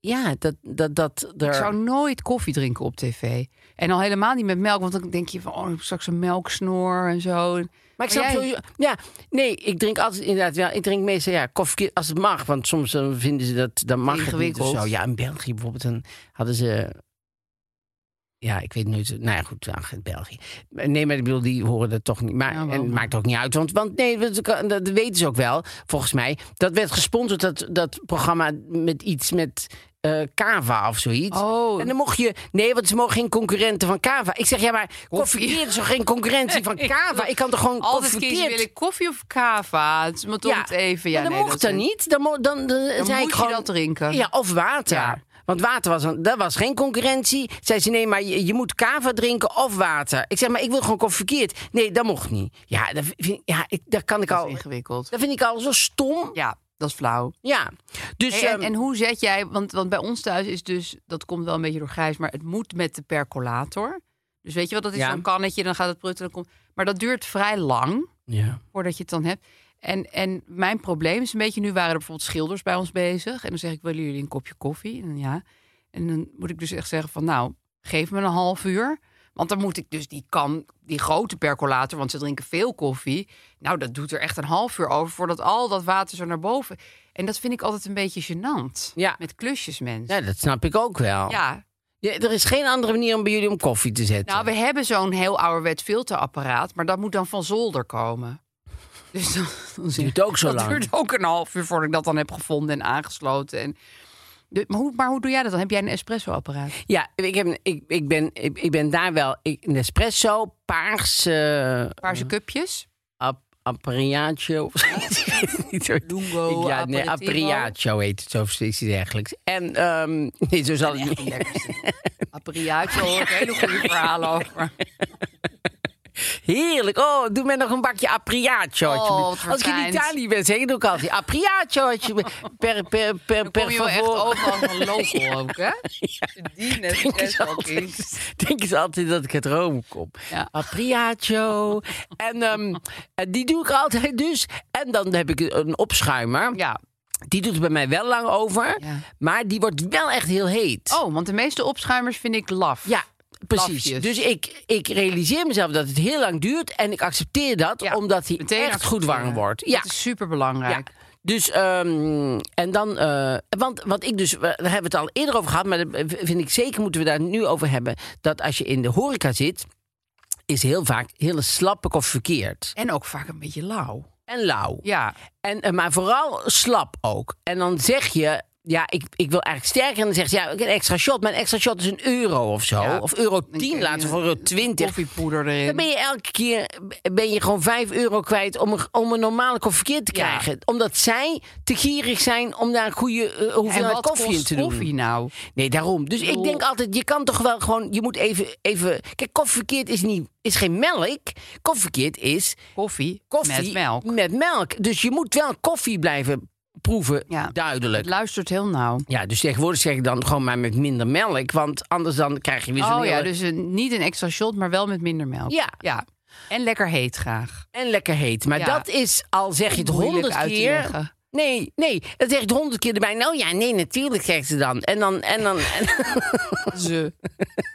Speaker 2: Ja, dat dat, dat er...
Speaker 3: Ik zou nooit koffie drinken op tv. En al helemaal niet met melk, want dan denk je van... oh, ik heb straks een melksnoor en zo.
Speaker 2: Maar ik snap
Speaker 3: jij-
Speaker 2: sowieso- Ja, nee, ik drink altijd inderdaad wel... Ik drink meestal ja, koffie als het mag. Want soms dan vinden ze dat... Dan mag het niet of
Speaker 3: Ingewikkeld.
Speaker 2: zo. Ja, in België bijvoorbeeld dan hadden ze... Ja, ik weet nooit... Nou ja, goed, ach, in België. Nee, maar ik bedoel, die horen dat toch niet. Maar
Speaker 3: Ja, wel.
Speaker 2: en het maakt ook niet uit. Want, want nee, dat, dat weten ze ook wel, volgens mij. Dat werd gesponsord, dat, dat programma met iets met eh Kava of zoiets.
Speaker 3: Oh.
Speaker 2: En dan mocht je... Nee, want ze mogen geen concurrenten van Kava. Ik zeg, ja, maar koffie is toch geen concurrentie van Kava? Ik kan toch gewoon
Speaker 3: Altijd
Speaker 2: koffie
Speaker 3: kiezen,
Speaker 2: verkeerd?
Speaker 3: wil ik koffie of kava? Het is maar toch het even. Ja,
Speaker 2: maar dat
Speaker 3: nee,
Speaker 2: mocht
Speaker 3: dat-
Speaker 2: dan niet. Dan, mo- dan, dan, zei
Speaker 3: moet
Speaker 2: ik
Speaker 3: je
Speaker 2: gewoon,
Speaker 3: dat drinken.
Speaker 2: Ja, of water.
Speaker 3: Ja.
Speaker 2: Want water was, een, dat was geen concurrentie. Zei ze, nee, maar je, je moet kava drinken of water. Ik zeg, maar ik wil gewoon koffie verkeerd. Nee, dat mocht niet. Ja, dat, vind, ja ik, dat kan ik
Speaker 3: Dat
Speaker 2: al...
Speaker 3: is ingewikkeld.
Speaker 2: Dat vind ik al zo stom. Ja.
Speaker 3: Ja, dat is flauw.
Speaker 2: Dus,
Speaker 3: Hey, en,
Speaker 2: ehm,
Speaker 3: en hoe zet jij, want, want bij ons thuis is dus, dat komt wel een beetje door Grijs, maar het moet met de percolator. Dus weet je wat, dat is
Speaker 2: Ja.
Speaker 3: zo'n kannetje, dan gaat het pruttelen. Komt, maar dat duurt vrij lang
Speaker 2: ja.
Speaker 3: voordat je het dan hebt. En, en mijn probleem is een beetje, nu waren er bijvoorbeeld schilders bij ons bezig. En dan zeg ik, willen jullie een kopje koffie? En dan ja. En dan moet ik dus echt zeggen van, nou, geef me een half uur. Want dan moet ik dus die kan, die grote percolator, want ze drinken veel koffie. Nou, dat doet er echt een half uur over voordat al dat water zo naar boven. En dat vind ik altijd een beetje gênant.
Speaker 2: Ja.
Speaker 3: Met klusjes, mensen.
Speaker 2: ja, dat snap ik ook wel.
Speaker 3: ja.
Speaker 2: Ja, er is geen andere manier om bij jullie om koffie te zetten.
Speaker 3: Nou, we hebben zo'n heel ouderwet filterapparaat, maar dat moet dan van zolder komen. Dus dan, dan zeg-
Speaker 2: duurt ook zo
Speaker 3: dat
Speaker 2: lang.
Speaker 3: duurt ook een half uur voordat ik dat dan heb gevonden en aangesloten. En, de, maar, hoe, maar hoe doe jij dat dan? Heb jij een espressoapparaat?
Speaker 2: Ja, ik, heb, ik, ik, ben, ik, ik ben daar wel... Ik, Nespresso, paars... eh,
Speaker 3: Paarse cupjes?
Speaker 2: Ap appariaatje of zoiets. Ik weet het niet. hoor.
Speaker 3: Lungo,
Speaker 2: Ik- Ja, nee,
Speaker 3: aperitivo.
Speaker 2: appariaatje heet het of zoiets dergelijks. En, ehm, nee, zo zal het niet.
Speaker 3: Appariaatje, hoor ik hele goede verhalen over.
Speaker 2: Heerlijk. Oh, doe mij nog een bakje appriaatje. alsjeblieft.
Speaker 3: Oh, wat
Speaker 2: Als ik in
Speaker 3: verfijnd.
Speaker 2: Italië ben, zeg ik het ook altijd. Appriaatje, alsjeblieft. Per, per, per,
Speaker 3: Kom
Speaker 2: per
Speaker 3: je wel echt
Speaker 2: favore.
Speaker 3: overal van local ook, hè? Die
Speaker 2: Denk eens,
Speaker 3: Nespresso kiest.
Speaker 2: altijd, denk eens altijd dat ik het Rome kom.
Speaker 3: Ja.
Speaker 2: Appriaatje. en ehm, en die doe ik altijd dus. En dan heb ik een opschuimer.
Speaker 3: Ja.
Speaker 2: Die doet er bij mij wel lang over.
Speaker 3: Ja.
Speaker 2: Maar die wordt wel echt heel heet.
Speaker 3: Oh, want de meeste opschuimers vind ik laf.
Speaker 2: Ja, precies.
Speaker 3: Lafjes.
Speaker 2: Dus ik, ik realiseer mezelf dat het heel lang duurt. En ik accepteer dat,
Speaker 3: Ja,
Speaker 2: omdat hij
Speaker 3: meteen
Speaker 2: echt goed
Speaker 3: accepteren.
Speaker 2: warm wordt. Ja,
Speaker 3: Dat is superbelangrijk.
Speaker 2: ja. Dus, ehm, en dan, eh, want wat ik dus, we- daar hebben we het al eerder over gehad, maar dat vind ik zeker moeten we daar nu over hebben. Dat als je in de horeca zit, is heel vaak hele slappe koffie verkeerd.
Speaker 3: En ook vaak een beetje lauw.
Speaker 2: En lauw.
Speaker 3: Ja,
Speaker 2: En, eh, maar vooral slap ook. En dan zeg je, ja, ik, ik wil eigenlijk sterker. En dan zeg je, ja, ik een extra shot. Maar een extra shot is een euro of zo.
Speaker 3: Ja.
Speaker 2: Of euro
Speaker 3: Dan
Speaker 2: 10
Speaker 3: kun
Speaker 2: laten
Speaker 3: je
Speaker 2: we voor euro
Speaker 3: een
Speaker 2: 20.
Speaker 3: Koffiepoeder erin.
Speaker 2: Dan ben je elke keer ben je gewoon 5 euro kwijt om een, om een normale koffie verkeerd te
Speaker 3: Ja.
Speaker 2: krijgen. Omdat zij te gierig zijn om daar een goede eh,
Speaker 3: en
Speaker 2: hoeveelheid
Speaker 3: wat
Speaker 2: koffie in
Speaker 3: kost
Speaker 2: te doen.
Speaker 3: koffie nou?
Speaker 2: Nee, daarom. Dus ik
Speaker 3: bedoel-
Speaker 2: denk altijd, je kan toch wel gewoon, je moet even, even... Kijk, koffie verkeerd is, niet, is geen melk. Koffie verkeerd is
Speaker 3: Koffie, Mm,
Speaker 2: koffie
Speaker 3: met melk.
Speaker 2: met melk. Dus je moet wel koffie blijven proeven,
Speaker 3: Ja.
Speaker 2: duidelijk.
Speaker 3: Het luistert heel nauw.
Speaker 2: Ja, dus tegenwoordig zeg ik dan gewoon maar met minder melk. Want anders dan krijg je weer zo'n
Speaker 3: Oh ja,
Speaker 2: hele-
Speaker 3: dus een- niet een extra shot, maar wel met minder melk.
Speaker 2: Ja.
Speaker 3: ja. En lekker heet graag.
Speaker 2: En lekker heet. Maar
Speaker 3: Ja.
Speaker 2: dat is, al zeg je het
Speaker 3: Moeilijk
Speaker 2: honderd
Speaker 3: uit te
Speaker 2: keer...
Speaker 3: leggen.
Speaker 2: Nee, nee, dat zegt honderd keer erbij. Nou ja, nee, natuurlijk zegt ze dan. En dan, en dan... en-
Speaker 3: Ze.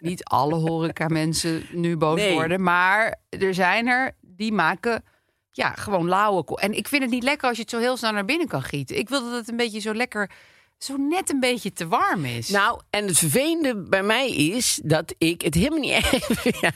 Speaker 3: niet alle horecamensen nu boos
Speaker 2: Nee.
Speaker 3: worden, maar er zijn er die maken ja, gewoon lauwe ko- En ik vind het niet lekker als je het zo heel snel naar binnen kan gieten. Ik wil dat het een beetje zo lekker, zo net een beetje te warm is.
Speaker 2: Nou, en het vervelende bij mij is dat ik het helemaal niet erg vind. Ja,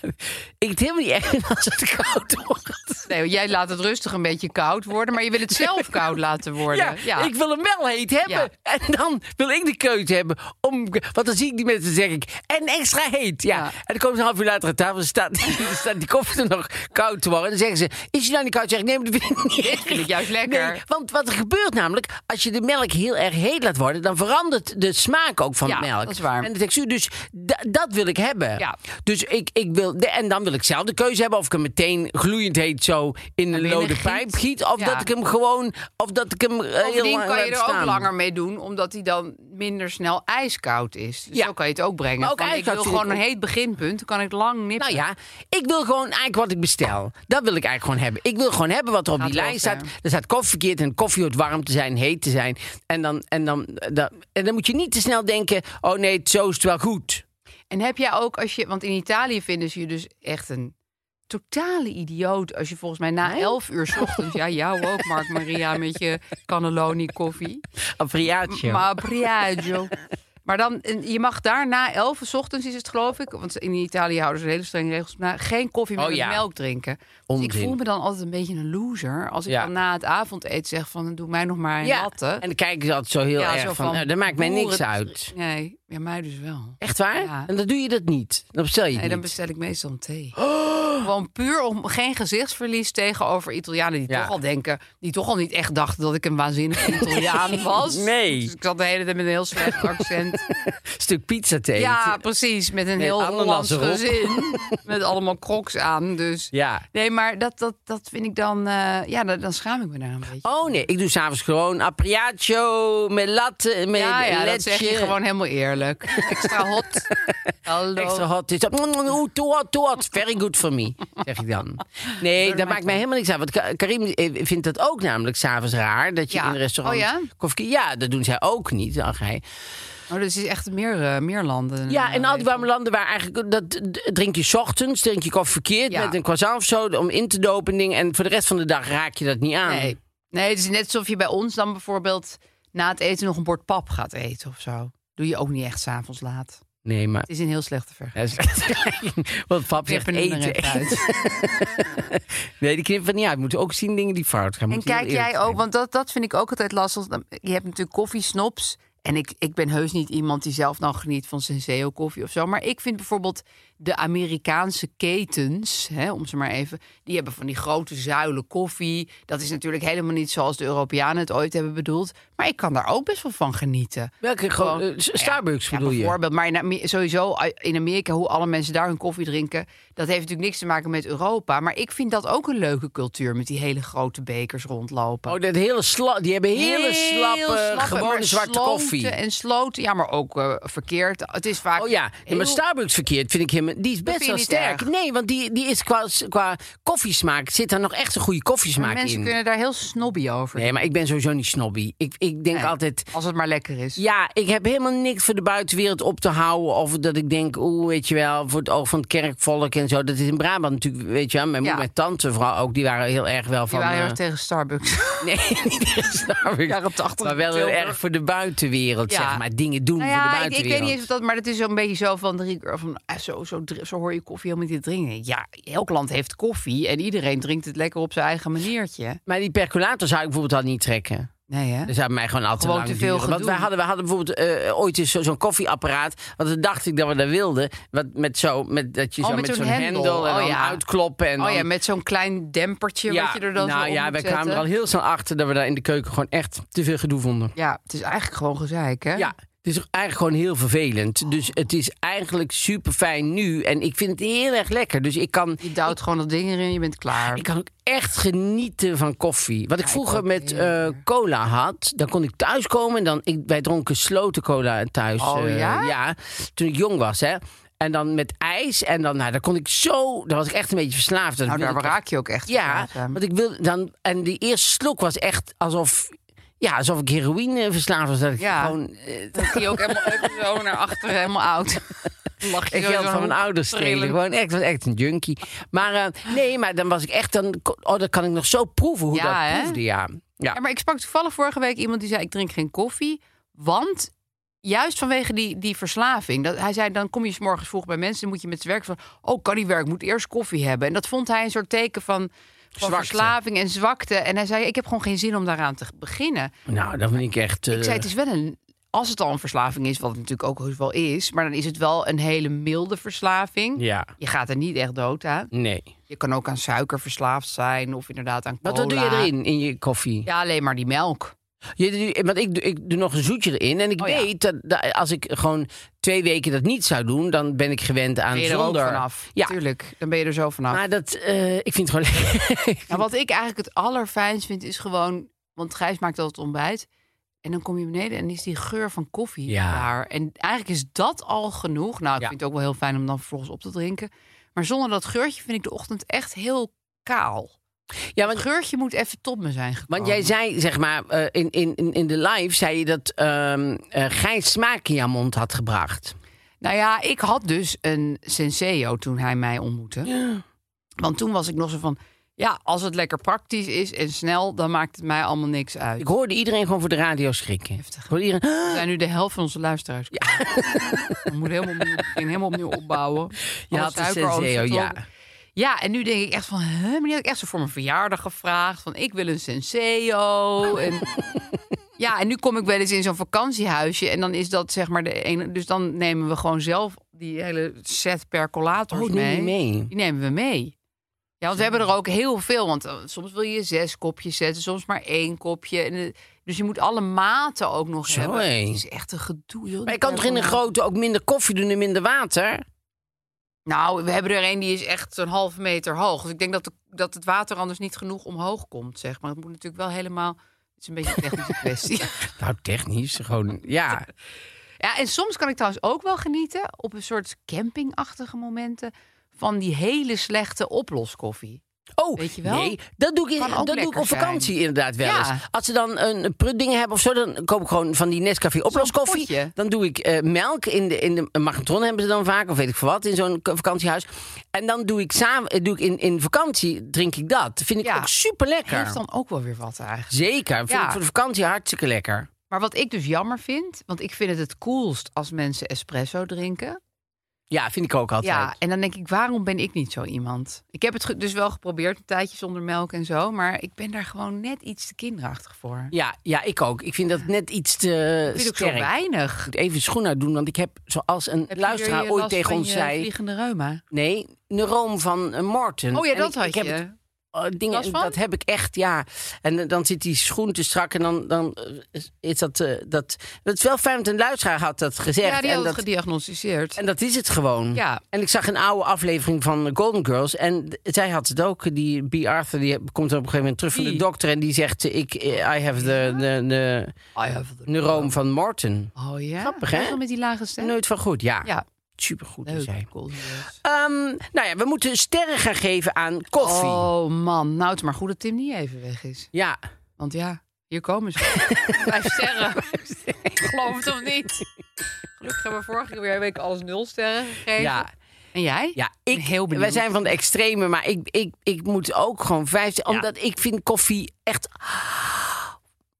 Speaker 2: ik het helemaal niet erg vind als het koud wordt.
Speaker 3: Nee, want jij laat het rustig een beetje koud worden, maar je wil het zelf koud laten worden.
Speaker 2: Ja, ik wil hem wel heet hebben. En dan wil ik de keuze hebben. Om, want dan zie ik die mensen dan zeg ik, en extra heet. Ja.
Speaker 3: Ja.
Speaker 2: En dan komen ze een half uur later aan tafel. Staat, staat die koffie er nog koud te worden. En dan zeggen ze, is die nou niet koud? Zeg ik, nee, maar dat vind ik niet
Speaker 3: Dit vind ik juist lekker.
Speaker 2: Nee, want wat er gebeurt namelijk, als je de melk heel erg heet laat worden, dan verandert de smaak ook van
Speaker 3: Ja,
Speaker 2: het melk.
Speaker 3: dat is waar.
Speaker 2: En de textuur. Dus da- dat wil ik hebben.
Speaker 3: Ja.
Speaker 2: Dus ik, ik wil, de- en dan wil ik zelf de keuze hebben of ik hem meteen gloeiend heet zo in een
Speaker 3: binnen
Speaker 2: lode
Speaker 3: giet.
Speaker 2: pijp giet. Of
Speaker 3: Ja.
Speaker 2: dat ik hem gewoon, of dat ik hem eh, heel
Speaker 3: Bovendien
Speaker 2: lang
Speaker 3: kan je
Speaker 2: laat
Speaker 3: er ook
Speaker 2: staan.
Speaker 3: langer mee doen, omdat hij dan minder snel ijskoud is. Dus
Speaker 2: Ja.
Speaker 3: zo kan je het ook brengen.
Speaker 2: Maar ook
Speaker 3: Van, ik
Speaker 2: ijskoud
Speaker 3: wil
Speaker 2: vind ik
Speaker 3: gewoon een
Speaker 2: ook-
Speaker 3: heet beginpunt, dan kan ik lang nippen.
Speaker 2: Nou ja, ik wil gewoon eigenlijk wat ik bestel. Dat wil ik eigenlijk gewoon hebben. Ik wil gewoon hebben wat er op
Speaker 3: Gaat
Speaker 2: die
Speaker 3: wel
Speaker 2: lijst
Speaker 3: ver.
Speaker 2: staat. Er staat koffie verkeerd en koffie hoort warm te zijn, heet te zijn. En dan, en dan, eh, dat- en dan moet je niet te snel denken, oh nee, zo is het wel goed.
Speaker 3: En heb jij ook als je, want in Italië vinden ze je dus echt een totale idioot als je volgens mij na 11 uur 's ochtends, ja jou ook Mark Maria met je cannelloni koffie,
Speaker 2: Afriaatje.
Speaker 3: maar Briaggio. Maar dan, en je mag daar na 11 uur 's ochtends is het geloof ik, want in Italië houden ze hele strenge regels na, geen koffie meer
Speaker 2: Oh,
Speaker 3: met
Speaker 2: ja.
Speaker 3: melk drinken. Dus ik
Speaker 2: Onzin.
Speaker 3: voel me dan altijd een beetje een loser als ik
Speaker 2: Ja.
Speaker 3: dan na het avondeten zeg van, doe mij nog maar een
Speaker 2: ja.
Speaker 3: latte.
Speaker 2: En dan kijken ze altijd zo heel
Speaker 3: Ja,
Speaker 2: erg
Speaker 3: zo
Speaker 2: van,
Speaker 3: van,
Speaker 2: nou, dat maakt mij niks
Speaker 3: boeren-
Speaker 2: uit.
Speaker 3: Nee, ja, mij dus wel.
Speaker 2: Echt waar?
Speaker 3: Ja.
Speaker 2: En dan doe je dat niet. Dan bestel je het
Speaker 3: Nee, dan
Speaker 2: niet. Oh!
Speaker 3: bestel ik meestal een thee. Gewoon puur om geen gezichtsverlies tegenover Italianen die
Speaker 2: Ja.
Speaker 3: toch al denken, die toch al niet echt dachten dat ik een waanzinnig Italiaan was.
Speaker 2: Nee.
Speaker 3: Dus ik zat de hele tijd met een heel slecht accent.
Speaker 2: Stuk pizza te
Speaker 3: ja,
Speaker 2: eten.
Speaker 3: precies, met een
Speaker 2: eh, Met
Speaker 3: heel
Speaker 2: ananas
Speaker 3: Hollands
Speaker 2: erop.
Speaker 3: gezin, met allemaal crocs aan. Dus
Speaker 2: Ja.
Speaker 3: nee, maar dat, dat, dat vind ik dan, eh, ja, dan, dan schaam ik me daar een beetje.
Speaker 2: Oh nee, ik doe s'avonds gewoon appriaatje met latte, met
Speaker 3: ja, ja, dat
Speaker 2: letje.
Speaker 3: zeg je gewoon helemaal eerlijk. Extra hot. Hallo.
Speaker 2: Extra hot is dat. Oeh, too hot, too hot. Very good for me, zeg ik dan. Nee, dat maakt mij helemaal niks uit. Want Ka- Karim eh, vindt dat ook namelijk s'avonds raar. Dat je
Speaker 3: Ja.
Speaker 2: in een restaurant...
Speaker 3: Oh ja?
Speaker 2: koffie... ja, dat doen zij ook niet, dacht hij.
Speaker 3: Oh, dus het is echt meer, eh, meer landen.
Speaker 2: Ja, en al die
Speaker 3: altijd
Speaker 2: warme landen waar eigenlijk... Dat d- drink je 's ochtends, drink je koffie verkeerd...
Speaker 3: Ja.
Speaker 2: met een croissant of zo, om in te dopen en ding. En voor de rest van de dag raak je dat niet aan.
Speaker 3: Nee. nee, het is net alsof je bij ons dan bijvoorbeeld na het eten nog een bord pap gaat eten of zo. Doe je ook niet echt s'avonds laat.
Speaker 2: Nee, maar...
Speaker 3: Het is een heel slechte vergelijking.
Speaker 2: Ja, is- Want pap zegt
Speaker 3: Knippen er
Speaker 2: eten.
Speaker 3: even uit.
Speaker 2: Nee, die knippen niet uit. We moeten ook zien dingen die fout gaan.
Speaker 3: En
Speaker 2: Moet heel
Speaker 3: kijk
Speaker 2: eerlijk
Speaker 3: jij ook,
Speaker 2: zijn.
Speaker 3: want dat, dat vind ik ook altijd lastig. Dan- Je hebt natuurlijk koffiesnops. En ik, ik ben heus niet iemand die zelf nou geniet van Senseo koffie of zo. Maar ik vind bijvoorbeeld de Amerikaanse ketens, hè, om ze maar even... die hebben van die grote zuilen koffie. Dat is natuurlijk helemaal niet zoals de Europeanen het ooit hebben bedoeld. Maar ik kan daar ook best wel van genieten.
Speaker 2: Welke gewoon...
Speaker 3: Gewoon-
Speaker 2: eh, Starbucks bedoel je?
Speaker 3: bijvoorbeeld. Maar in Ame- sowieso eh, in Amerika, hoe alle mensen daar hun koffie drinken... dat heeft natuurlijk niks te maken met Europa. Maar ik vind dat ook een leuke cultuur... met die hele grote bekers rondlopen.
Speaker 2: Oh, dat hele sla die hebben hele
Speaker 3: Heel
Speaker 2: slappe, gewone
Speaker 3: maar
Speaker 2: zwarte
Speaker 3: sloten
Speaker 2: koffie.
Speaker 3: En sloten, ja, maar ook eh, verkeerd. Het is vaak...
Speaker 2: Oh ja, nee, maar
Speaker 3: heel-
Speaker 2: Starbucks verkeerd vind ik helemaal nemen, die is best
Speaker 3: vind je
Speaker 2: wel
Speaker 3: niet
Speaker 2: sterk.
Speaker 3: erg?
Speaker 2: Nee, want die, die is qua, qua koffiesmaak, zit daar nog echt een goede koffiesmaak
Speaker 3: Mensen
Speaker 2: in.
Speaker 3: kunnen daar heel snobby over.
Speaker 2: Nee, maar ik ben sowieso niet snobby. Ik, ik denk
Speaker 3: Nee,
Speaker 2: altijd,
Speaker 3: Als het maar lekker is.
Speaker 2: ja, ik heb helemaal niks voor de buitenwereld op te houden. Of dat ik denk, oeh, weet je wel, voor het oog van het kerkvolk en zo. Dat is in Brabant natuurlijk, weet je wel. Mijn
Speaker 3: Ja.
Speaker 2: moeder en tante vooral ook, die waren heel erg wel
Speaker 3: Die
Speaker 2: van...
Speaker 3: waren heel
Speaker 2: eh,
Speaker 3: erg tegen Starbucks. Nou
Speaker 2: Nee, niet tegen Starbucks.
Speaker 3: Jaren 80
Speaker 2: Maar wel heel
Speaker 3: Tilburg.
Speaker 2: erg voor de buitenwereld,
Speaker 3: Ja.
Speaker 2: zeg maar. Dingen doen
Speaker 3: Nou
Speaker 2: voor de
Speaker 3: ja, ik, ik
Speaker 2: buitenwereld.
Speaker 3: weet niet eens of dat, maar dat is zo'n beetje zo van drink er van eh, zo, zo, dr- zo hoor je koffie helemaal niet te drinken. Ja, elk land heeft koffie en iedereen drinkt het lekker op zijn eigen maniertje.
Speaker 2: Maar die percolator zou ik bijvoorbeeld al niet trekken.
Speaker 3: Nee, hè?
Speaker 2: Dat zou mij gewoon al te
Speaker 3: Gewoon
Speaker 2: lang
Speaker 3: te veel
Speaker 2: duren. Want
Speaker 3: gedoe.
Speaker 2: wij hadden, wij hadden bijvoorbeeld eh, ooit eens zo- zo'n koffieapparaat. Want dan dacht ik dat we dat wilden. Wat met zo, met, dat je
Speaker 3: Oh,
Speaker 2: zo
Speaker 3: met
Speaker 2: met
Speaker 3: zo'n
Speaker 2: zo'n
Speaker 3: hendel.
Speaker 2: hendel, en
Speaker 3: Oh,
Speaker 2: dan
Speaker 3: ja.
Speaker 2: uitkloppen. En
Speaker 3: oh
Speaker 2: dan-
Speaker 3: ja, met zo'n klein dempertje
Speaker 2: Ja,
Speaker 3: wat je er dan
Speaker 2: nou
Speaker 3: zo op
Speaker 2: ja,
Speaker 3: moet
Speaker 2: wij kwamen
Speaker 3: zetten.
Speaker 2: er al heel snel achter dat we daar in de keuken gewoon echt te veel gedoe vonden.
Speaker 3: Ja, het is eigenlijk gewoon gezeik, hè?
Speaker 2: Ja, het is eigenlijk gewoon heel vervelend. Dus het is eigenlijk super fijn nu. En ik vind het heel erg lekker. Dus ik kan,
Speaker 3: Je duwt gewoon dat ding erin, je bent klaar.
Speaker 2: ik kan ook echt genieten van koffie. Wat ik
Speaker 3: ik
Speaker 2: vroeger
Speaker 3: ook
Speaker 2: met
Speaker 3: heel
Speaker 2: eh,
Speaker 3: erg.
Speaker 2: cola had, dan kon ik thuiskomen en dan ik, wij dronken sloten cola thuis.
Speaker 3: Oh,
Speaker 2: eh,
Speaker 3: ja?
Speaker 2: toen ik jong was, hè. En dan met ijs en dan, nou, daar kon ik zo, daar was ik echt een beetje verslaafd. aan. Dat
Speaker 3: nou, daar
Speaker 2: wilde ik
Speaker 3: raak je ook echt
Speaker 2: ja,
Speaker 3: van, hè.
Speaker 2: want ik wil dan. En die eerste slok was echt alsof. Ja, alsof ik heroïne eh, verslaafd was. Dat ik
Speaker 3: Ja.
Speaker 2: gewoon. eh,
Speaker 3: Dat zie je ook helemaal even zo naar achteren, helemaal oud. Lach
Speaker 2: ik
Speaker 3: zo
Speaker 2: geld
Speaker 3: zo'n
Speaker 2: van mijn
Speaker 3: hoek
Speaker 2: ouders streden.
Speaker 3: trillen.
Speaker 2: Gewoon echt, ik was echt een junkie. Maar eh, nee, maar dan was ik echt. Dan, ko- oh, dan kan ik nog zo proeven hoe
Speaker 3: Ja,
Speaker 2: dat
Speaker 3: hè?
Speaker 2: proefde. Ja. Ja.
Speaker 3: Ja, maar ik sprak toevallig vorige week iemand die zei: Ik drink geen koffie. Want juist vanwege die, die verslaving. Dat, hij zei: Dan kom je 's morgens vroeg bij mensen. Dan moet je met z'n werk van. Oh, kan die werk? Moet eerst koffie hebben. En dat vond hij een soort teken van. Van
Speaker 2: Zwakte.
Speaker 3: verslaving en zwakte. En hij zei: Ik heb gewoon geen zin om daaraan te beginnen.
Speaker 2: Nou, dat vind ik echt. eh,
Speaker 3: Ik zei: Het is wel een. Als het al een verslaving is, wat het natuurlijk ook heus wel is. Maar dan is het wel een hele milde verslaving.
Speaker 2: Ja.
Speaker 3: Je gaat er niet echt dood aan.
Speaker 2: Nee.
Speaker 3: Je kan ook aan suiker verslaafd zijn. Of inderdaad aan cola.
Speaker 2: Wat, wat doe je erin in je koffie?
Speaker 3: Ja, alleen maar die melk.
Speaker 2: Je, doet- want ik, doe- ik doe nog een zoetje erin. En ik
Speaker 3: Oh, ja.
Speaker 2: weet dat, dat als ik gewoon twee weken dat niet zou doen, dan ben ik gewend aan
Speaker 3: ben je er
Speaker 2: zonder.
Speaker 3: ook vanaf.
Speaker 2: Ja.
Speaker 3: Tuurlijk, dan ben je er zo vanaf.
Speaker 2: Maar dat, eh, ik vind het gewoon lekker.
Speaker 3: Nou, wat ik eigenlijk het allerfijnst vind, is gewoon... Want Gijs maakt altijd ontbijt. En dan kom je beneden en is die geur van koffie
Speaker 2: Ja.
Speaker 3: daar. En eigenlijk is dat al genoeg. Nou, ik
Speaker 2: Ja.
Speaker 3: vind het ook wel heel fijn om dan vervolgens op te drinken. Maar zonder dat geurtje vind ik de ochtend echt heel kaal.
Speaker 2: Ja,
Speaker 3: Het
Speaker 2: want,
Speaker 3: geurtje moet even tot me zijn gekomen.
Speaker 2: want jij zei, zeg maar, eh, in, in, in- in de live zei je dat ehm eh, Gijs smaak in jouw mond had gebracht.
Speaker 3: Nou ja, ik had dus een senseo toen hij mij ontmoette. Want toen was ik nog zo van... Ja, als het lekker praktisch is en snel, dan maakt het mij allemaal niks uit.
Speaker 2: Ik hoorde iedereen gewoon voor de radio schrikken.
Speaker 3: Heftig.
Speaker 2: Ik hoorde iedereen,
Speaker 3: We zijn nu de helft van onze luisteraars. We moeten helemaal opnieuw beginnen, helemaal opnieuw opbouwen.
Speaker 2: je
Speaker 3: Alle
Speaker 2: had de
Speaker 3: suikeroogst
Speaker 2: senseo, ja. Oh,
Speaker 3: vertrokken. Ja, en nu denk ik echt van, hè, maar die had ik echt zo voor mijn verjaardag gevraagd. Van, ik wil een senseo. En, ja, en nu kom ik wel eens in zo'n vakantiehuisje. En dan is dat zeg maar de ene... Dus dan nemen we gewoon zelf die hele set percolators
Speaker 2: Oh, neem
Speaker 3: mee.
Speaker 2: je mee?
Speaker 3: Die nemen we mee. Ja, want we hebben er ook heel veel. Want eh, soms wil je zes kopjes zetten, soms maar één kopje. En, eh, dus je moet alle maten ook nog
Speaker 2: Zo,
Speaker 3: hebben.
Speaker 2: hé.
Speaker 3: Het is echt een gedoe. Joh.
Speaker 2: Maar je kan toch in een grote ook minder koffie doen en minder water?
Speaker 3: Nou, we hebben er een die is echt een halve meter hoog. Dus ik denk dat, de- dat het water anders niet genoeg omhoog komt, zeg maar. Het moet natuurlijk wel helemaal... Het is een beetje een technische kwestie.
Speaker 2: Nou, technisch, gewoon, ja.
Speaker 3: Ja, en soms kan ik trouwens ook wel genieten... op een soort campingachtige momenten... van die hele slechte oploskoffie.
Speaker 2: Oh,
Speaker 3: Weet je wel?
Speaker 2: nee, dat doe ik, in-
Speaker 3: Kan ook
Speaker 2: dat doe ik
Speaker 3: lekker
Speaker 2: op vakantie
Speaker 3: zijn.
Speaker 2: inderdaad wel
Speaker 3: Ja.
Speaker 2: eens. Als ze dan een prutding hebben of zo, dan koop ik gewoon van die Nescafé
Speaker 3: potje.
Speaker 2: oploskoffie. Dan doe ik eh, melk in de, in de een magnetron hebben ze dan vaak, of weet ik veel wat, in zo'n k- vakantiehuis. En dan doe ik, samen, eh, doe ik in, in vakantie, drink ik dat. Vind ik
Speaker 3: Ja.
Speaker 2: ook super
Speaker 3: Heeft
Speaker 2: lekker.
Speaker 3: dan ook wel weer wat eigenlijk.
Speaker 2: Zeker, vind
Speaker 3: Ja.
Speaker 2: ik voor de vakantie hartstikke lekker.
Speaker 3: Maar wat ik dus jammer vind, want ik vind het het coolst als mensen espresso drinken.
Speaker 2: Ja, vind ik ook altijd.
Speaker 3: Ja, en dan denk ik, waarom ben ik niet zo iemand? Ik heb het ge- dus wel geprobeerd, een tijdje zonder melk en zo, maar ik ben daar gewoon net iets te kinderachtig voor.
Speaker 2: Ja, ja, ik ook. Ik vind dat net iets te
Speaker 3: ik vind ook zo
Speaker 2: sterk.
Speaker 3: weinig.
Speaker 2: Ik moet even schoen uitdoen, want ik heb, zoals een
Speaker 3: Heb je weer
Speaker 2: luisteraar
Speaker 3: je
Speaker 2: ooit
Speaker 3: last
Speaker 2: tegen
Speaker 3: van
Speaker 2: ons
Speaker 3: je
Speaker 2: zei...
Speaker 3: vliegende reuma.
Speaker 2: Nee, neuroom van eh, Morten.
Speaker 3: Oh ja,
Speaker 2: En
Speaker 3: dat
Speaker 2: ik,
Speaker 3: had
Speaker 2: ik
Speaker 3: je.
Speaker 2: Heb het, eh, dingen,
Speaker 3: Last van?
Speaker 2: Dat heb ik echt, ja. En eh, dan zit die schoen te strak en dan, dan eh, is dat, eh, dat... Dat is wel fijn, want een luisteraar had dat gezegd.
Speaker 3: ja, die
Speaker 2: en,
Speaker 3: had het
Speaker 2: dat,
Speaker 3: gediagnosticeerd.
Speaker 2: en dat is het gewoon.
Speaker 3: Ja.
Speaker 2: En ik zag een oude aflevering van Golden Girls en d- zij had het ook. Die B. Arthur, die komt op een gegeven moment terug van
Speaker 3: Wie?
Speaker 2: de dokter... en die zegt, eh, ik, eh, I have the, the, the
Speaker 3: I have the-
Speaker 2: neuroom van Morten.
Speaker 3: Oh ja?
Speaker 2: Grappig, hè?
Speaker 3: Echt wel Met die lage stem.
Speaker 2: Nooit van goed, ja.
Speaker 3: Ja.
Speaker 2: supergoed in
Speaker 3: Leuk.
Speaker 2: zijn.
Speaker 3: Golden Girls.
Speaker 2: Ehm, nou ja, we moeten sterren gaan geven aan koffie.
Speaker 3: Oh man, nou het is maar goed dat Tim niet even weg is.
Speaker 2: Ja.
Speaker 3: Want ja, hier komen ze. Vijf sterren. Geloof het of niet. Gelukkig hebben we vorige keer weer een week alles nul sterren gegeven.
Speaker 2: Ja.
Speaker 3: En jij?
Speaker 2: Ja, ik,
Speaker 3: ben heel benieuwd.
Speaker 2: Wij zijn van de extreme, maar ik, ik, ik moet ook gewoon vijf. Omdat ik vind koffie echt.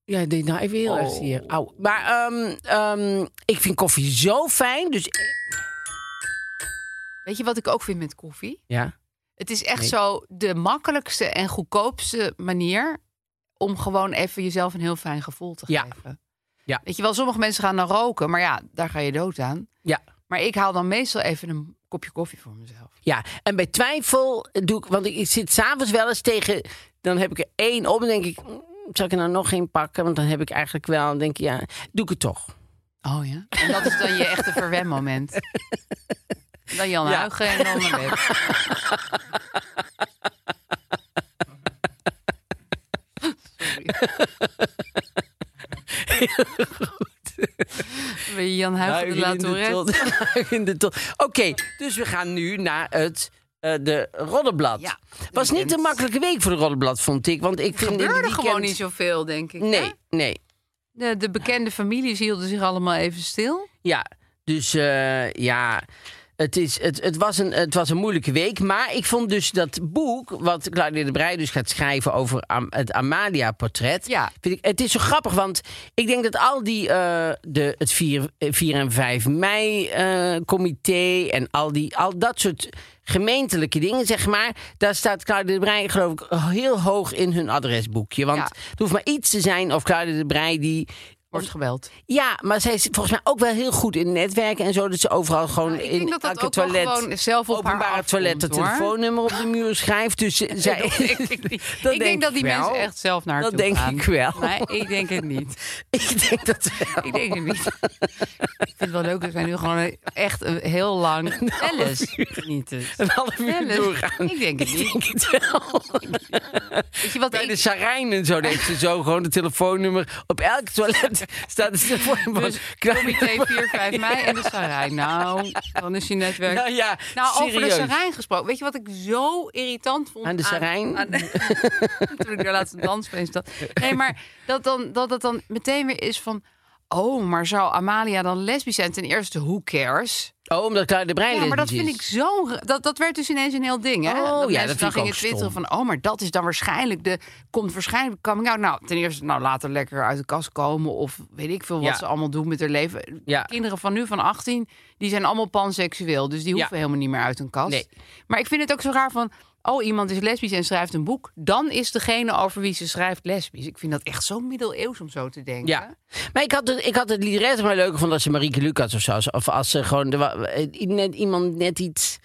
Speaker 2: Ja, dit nou even heel erg hier. Au. Maar ehm, ehm, ik vind koffie zo fijn. Dus
Speaker 3: Weet je wat ik ook vind met koffie?
Speaker 2: ja.
Speaker 3: Het is echt
Speaker 2: Nee.
Speaker 3: zo de makkelijkste en goedkoopste manier om gewoon even jezelf een heel fijn gevoel te
Speaker 2: Ja.
Speaker 3: geven.
Speaker 2: Ja.
Speaker 3: Weet je wel, sommige mensen gaan dan roken, maar ja, daar ga je dood aan.
Speaker 2: Ja.
Speaker 3: Maar ik haal dan meestal even een kopje koffie voor mezelf.
Speaker 2: ja. En bij twijfel doe ik. Want ik zit s'avonds wel eens tegen. Dan heb ik er één op en denk ik. mm, Zal ik er nou nog één pakken? Want dan heb ik eigenlijk wel. Dan denk ik, ja, doe ik het toch.
Speaker 3: Oh ja. En dat is dan je echte verwenmoment. Dan Jan
Speaker 2: Ja.
Speaker 3: Huigen en dan mijn bed. Sorry. Ben je Jan Huigen de La
Speaker 2: Huilen Nou, in de
Speaker 3: Tourette?
Speaker 2: tot- huilen in de tot. Oké, dus we gaan nu naar het eh, de Roddenblad.
Speaker 3: Ja,
Speaker 2: Was niet een
Speaker 3: weekend.
Speaker 2: makkelijke week voor de Roddenblad, vond ik. Want ik vind in
Speaker 3: gebeurde
Speaker 2: die
Speaker 3: gewoon
Speaker 2: weekend-
Speaker 3: niet zoveel, denk ik. hè?
Speaker 2: Nee, nee.
Speaker 3: De, de bekende families hielden zich allemaal even stil.
Speaker 2: Ja, dus eh, ja, het, is, het, het, was een, het was een moeilijke week. Maar ik vond dus dat boek, wat Claudia de Breij dus gaat schrijven over Am- het Amalia-portret.
Speaker 3: Ja.
Speaker 2: Vind ik, het is zo grappig, want ik denk dat al die, eh, de, het 4, eh, 4 en 5 mei-comité en al, die, al dat soort gemeentelijke dingen, zeg maar. Daar staat Claudia de Breij, geloof ik, heel hoog in hun adresboekje. Want
Speaker 3: Ja.
Speaker 2: het hoeft maar iets te zijn of Claudia de Breij die
Speaker 3: Wordt geweld.
Speaker 2: ja, maar zij is volgens mij ook wel heel goed in netwerken en zo. Dat ze overal gewoon
Speaker 3: Nou, ik
Speaker 2: in
Speaker 3: denk dat dat
Speaker 2: elke
Speaker 3: ook wel
Speaker 2: toilet,
Speaker 3: gewoon zelf op haar
Speaker 2: openbare
Speaker 3: afkomt,
Speaker 2: toilet, het
Speaker 3: hoor.
Speaker 2: telefoonnummer op de muur schrijft. Dus ze- zij,
Speaker 3: Dat denk ik niet.
Speaker 2: Dat
Speaker 3: ik denk dat die
Speaker 2: wel.
Speaker 3: mensen echt zelf naar haar
Speaker 2: Dat
Speaker 3: toe
Speaker 2: denk
Speaker 3: gaan.
Speaker 2: ik wel.
Speaker 3: Nee, ik denk het niet.
Speaker 2: Ik denk dat wel.
Speaker 3: Ik denk het niet. ik vind het wel leuk dat wij nu gewoon echt een heel lang alles niet dus.
Speaker 2: Een half uur
Speaker 3: Alice,
Speaker 2: doorgaan.
Speaker 3: ik denk het niet.
Speaker 2: denk het wel.
Speaker 3: Weet je wat
Speaker 2: Bij de
Speaker 3: ik...
Speaker 2: Sarijn en zo heeft ze zo gewoon het telefoonnummer. Op elk toilet staat het telefoonnummer.
Speaker 3: Dus comité 4, 5 mei en de Sarijn. Nou, dan is je netwerk...
Speaker 2: Nou ja,
Speaker 3: Nou, over de
Speaker 2: serieus.
Speaker 3: Sarijn gesproken. Weet je wat ik zo irritant vond?
Speaker 2: Aan de Sarijn?
Speaker 3: aan de- toen ik daar laatst een dansfeest had. Nee, maar dat, dan, dat het dan meteen weer is van... Oh, maar zou Amalia dan lesbisch zijn? Ten eerste, who cares?
Speaker 2: Oh, omdat Claudia de Breij
Speaker 3: Ja, maar dat
Speaker 2: lesbisch
Speaker 3: vind
Speaker 2: is.
Speaker 3: ik zo... ra- Dat, dat werd dus ineens een heel ding, hè?
Speaker 2: Oh, ja,
Speaker 3: mensen
Speaker 2: dat vind
Speaker 3: dan
Speaker 2: ik
Speaker 3: gingen
Speaker 2: ook
Speaker 3: twitteren
Speaker 2: stom.
Speaker 3: van... Oh, maar dat is dan waarschijnlijk de... Komt waarschijnlijk de coming out. Nou, ten eerste, nou, laat er lekker uit de kast komen. Of weet ik veel wat
Speaker 2: Ja.
Speaker 3: ze allemaal doen met haar leven.
Speaker 2: Ja.
Speaker 3: Kinderen van nu, van 18, die zijn allemaal panseksueel. Dus die hoeven helemaal niet meer uit hun kast.
Speaker 2: Nee.
Speaker 3: Maar ik vind het ook zo raar van... Oh, iemand is lesbisch en schrijft een boek. Dan is degene over wie ze schrijft lesbisch. Ik vind dat echt zo middeleeuws om zo te denken.
Speaker 2: Ja. Maar ik had het, ik had het liedret maar leuk gevonden als ze Marieke Lucas of zo. als- Of als ze gewoon er wa- eh, net, iemand net iets,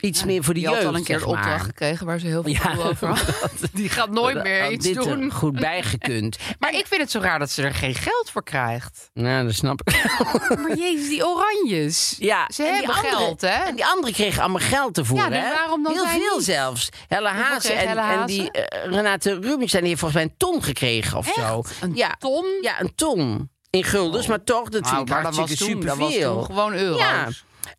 Speaker 2: iets meer voor de
Speaker 3: Die
Speaker 2: jeugd.
Speaker 3: had al een keer
Speaker 2: zeg
Speaker 3: een opdracht
Speaker 2: maar.
Speaker 3: gekregen waar ze heel veel gevoel over had. Die gaat nooit
Speaker 2: Had-
Speaker 3: meer
Speaker 2: had
Speaker 3: iets
Speaker 2: oh, dit eh, er
Speaker 3: doen.
Speaker 2: goed bijgekund.
Speaker 3: Maar ik vind het zo raar dat ze er geen geld voor krijgt.
Speaker 2: nou, dat snap ik.
Speaker 3: Maar jezus, die oranjes.
Speaker 2: Ja,
Speaker 3: Ze
Speaker 2: en die
Speaker 3: hebben
Speaker 2: andere-
Speaker 3: geld, hè?
Speaker 2: En die anderen kregen allemaal geld ervoor.
Speaker 3: Ja, dus
Speaker 2: hè?
Speaker 3: waarom dan
Speaker 2: Heel
Speaker 3: zij
Speaker 2: veel
Speaker 3: niet?
Speaker 2: zelfs. Helle Haas
Speaker 3: kreeg
Speaker 2: en,
Speaker 3: Helle
Speaker 2: en
Speaker 3: Haas?
Speaker 2: die eh, Renate Rubinstein die heeft volgens mij een ton gekregen of zo.
Speaker 3: Een
Speaker 2: ja,
Speaker 3: ton?
Speaker 2: ja, een ton. In guldens, maar toch, dat
Speaker 3: Nou,
Speaker 2: vind ik
Speaker 3: maar dat was
Speaker 2: hartstikke
Speaker 3: toen, dat was
Speaker 2: superveel.
Speaker 3: toen gewoon euro's.
Speaker 2: Ja.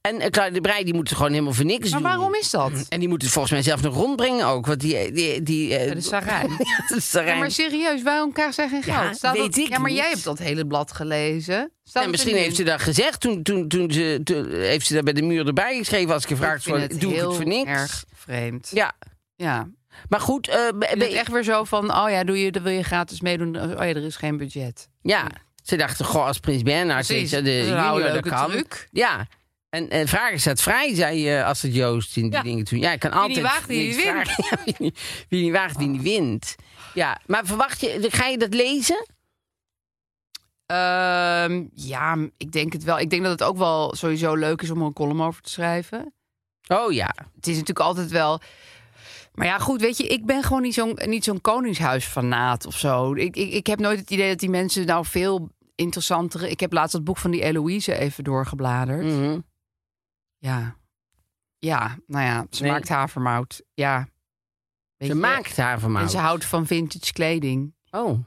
Speaker 2: En eh, Claudia de Breij, die moet gewoon helemaal voor niks
Speaker 3: Maar
Speaker 2: doen.
Speaker 3: waarom is dat?
Speaker 2: En die moet het volgens mij zelf nog rondbrengen ook. Want die. die, die eh,
Speaker 3: Bij de Sarijn.
Speaker 2: Ja, de Sarijn.
Speaker 3: Ja, maar serieus, waarom krijgt zij geen
Speaker 2: Ja,
Speaker 3: geld? Staat dat-
Speaker 2: weet ik
Speaker 3: ja, maar
Speaker 2: niet.
Speaker 3: jij hebt dat hele blad gelezen. Staat
Speaker 2: en
Speaker 3: het
Speaker 2: misschien
Speaker 3: er
Speaker 2: heeft ze
Speaker 3: niet
Speaker 2: dat gezegd. Toen, toen, toen ze, toen heeft ze dat bij de muur erbij geschreven. Als ik
Speaker 3: in?
Speaker 2: gevraagd
Speaker 3: Ik vind
Speaker 2: van, doe ik het
Speaker 3: heel
Speaker 2: voor niks?
Speaker 3: erg vreemd.
Speaker 2: Ja,
Speaker 3: Ja.
Speaker 2: maar goed. eh, be-
Speaker 3: Ik
Speaker 2: be-
Speaker 3: ben echt weer zo van, oh ja, doe je, dan wil je gratis meedoen. Oh ja, er is geen budget.
Speaker 2: Ja, ze dachten, goh, als Prins Bernhard
Speaker 3: Precies.
Speaker 2: is, eh, de
Speaker 3: Dat is een oude
Speaker 2: junior, dat
Speaker 3: leuke
Speaker 2: kan.
Speaker 3: truc.
Speaker 2: Ja. En, en vragen staat vrij, zei eh Astrid Joost in die
Speaker 3: Ja.
Speaker 2: dingen toen. Ja, ik kan altijd...
Speaker 3: niet waagt, die
Speaker 2: niks
Speaker 3: niet wint.
Speaker 2: vragen. Ja, wie, niet, wie niet waagt, die niet wint. Ja, maar verwacht je... Ga je dat lezen?
Speaker 3: Ehm, ja, m- ik denk het wel. Ik denk dat het ook wel sowieso leuk is om er een column over te schrijven.
Speaker 2: Oh ja.
Speaker 3: Het is natuurlijk altijd wel. Maar ja, goed, weet je, ik ben gewoon niet zo'n, niet zo'n koningshuisfanaat of zo. Ik, ik, ik heb nooit het idee dat die mensen nou veel interessantere. Ik heb laatst dat boek van die Eloïse even doorgebladerd.
Speaker 2: Mhm.
Speaker 3: Ja. Ja, nou ja, ze
Speaker 2: Nee.
Speaker 3: maakt havermout. Ja. Weet
Speaker 2: Ze
Speaker 3: je,
Speaker 2: maakt haar van
Speaker 3: En ze houdt van vintage kleding.
Speaker 2: Oh.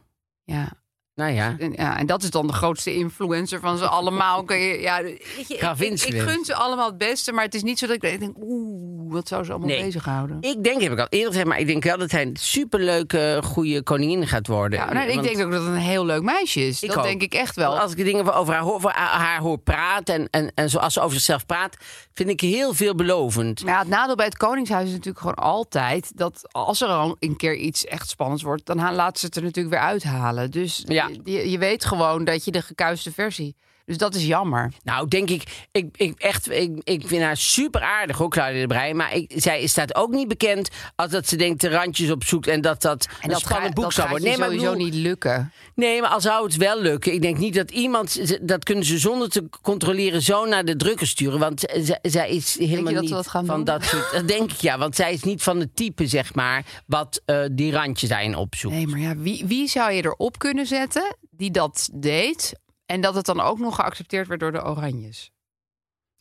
Speaker 3: Ja.
Speaker 2: Nou ja.
Speaker 3: En, ja, en dat is dan de grootste influencer van ze allemaal. Kun je, ja, weet je, ik, ik, ik
Speaker 2: Gravinschrift.
Speaker 3: gun ze allemaal het beste, maar het is niet zo dat ik denk... Oeh, wat zou ze allemaal
Speaker 2: Nee.
Speaker 3: bezighouden?
Speaker 2: Ik denk, heb ik al eerder gezegd, maar ik denk wel dat hij een superleuke, goede koningin gaat worden.
Speaker 3: Ja, nou, ik
Speaker 2: Want-
Speaker 3: denk ook dat het een heel leuk meisje is.
Speaker 2: Ik
Speaker 3: dat
Speaker 2: ook.
Speaker 3: denk ik echt wel.
Speaker 2: Als ik de dingen over haar hoor, over haar hoor praten en, en, en zoals ze over zichzelf praat, vind ik heel veelbelovend.
Speaker 3: Maar ja, het nadeel bij het Koningshuis is natuurlijk gewoon altijd dat als er al een keer iets echt spannends wordt, dan ha- laten ze het er natuurlijk weer uithalen. Dus
Speaker 2: Ja.
Speaker 3: je, je weet gewoon dat je de gekuiste versie. Dus dat is jammer.
Speaker 2: Nou, denk ik, ik, ik, echt, ik, ik vind haar super aardig hoor, Claudia de Breij. Maar ik, zij staat ook niet bekend als dat ze denkt de randjes opzoekt en dat dat een
Speaker 3: dat
Speaker 2: spannend
Speaker 3: ga-
Speaker 2: boek
Speaker 3: dat
Speaker 2: zou
Speaker 3: gaat
Speaker 2: worden.
Speaker 3: je
Speaker 2: maar ik
Speaker 3: sowieso
Speaker 2: bedoel-
Speaker 3: niet lukken.
Speaker 2: Nee, maar al zou het wel lukken. Ik denk niet dat iemand, ze- dat kunnen ze zonder te controleren zo naar de drukker sturen. Want z- z- zij is helemaal
Speaker 3: dat ze
Speaker 2: niet
Speaker 3: dat gaan
Speaker 2: van
Speaker 3: doen?
Speaker 2: dat soort. Dat denk ik ja, want zij is niet van het type, zeg maar, wat eh, die randjes zijn opzoekt.
Speaker 3: Nee, maar ja, wie, wie zou je erop kunnen zetten die dat deed en dat het dan ook nog geaccepteerd werd door de Oranjes?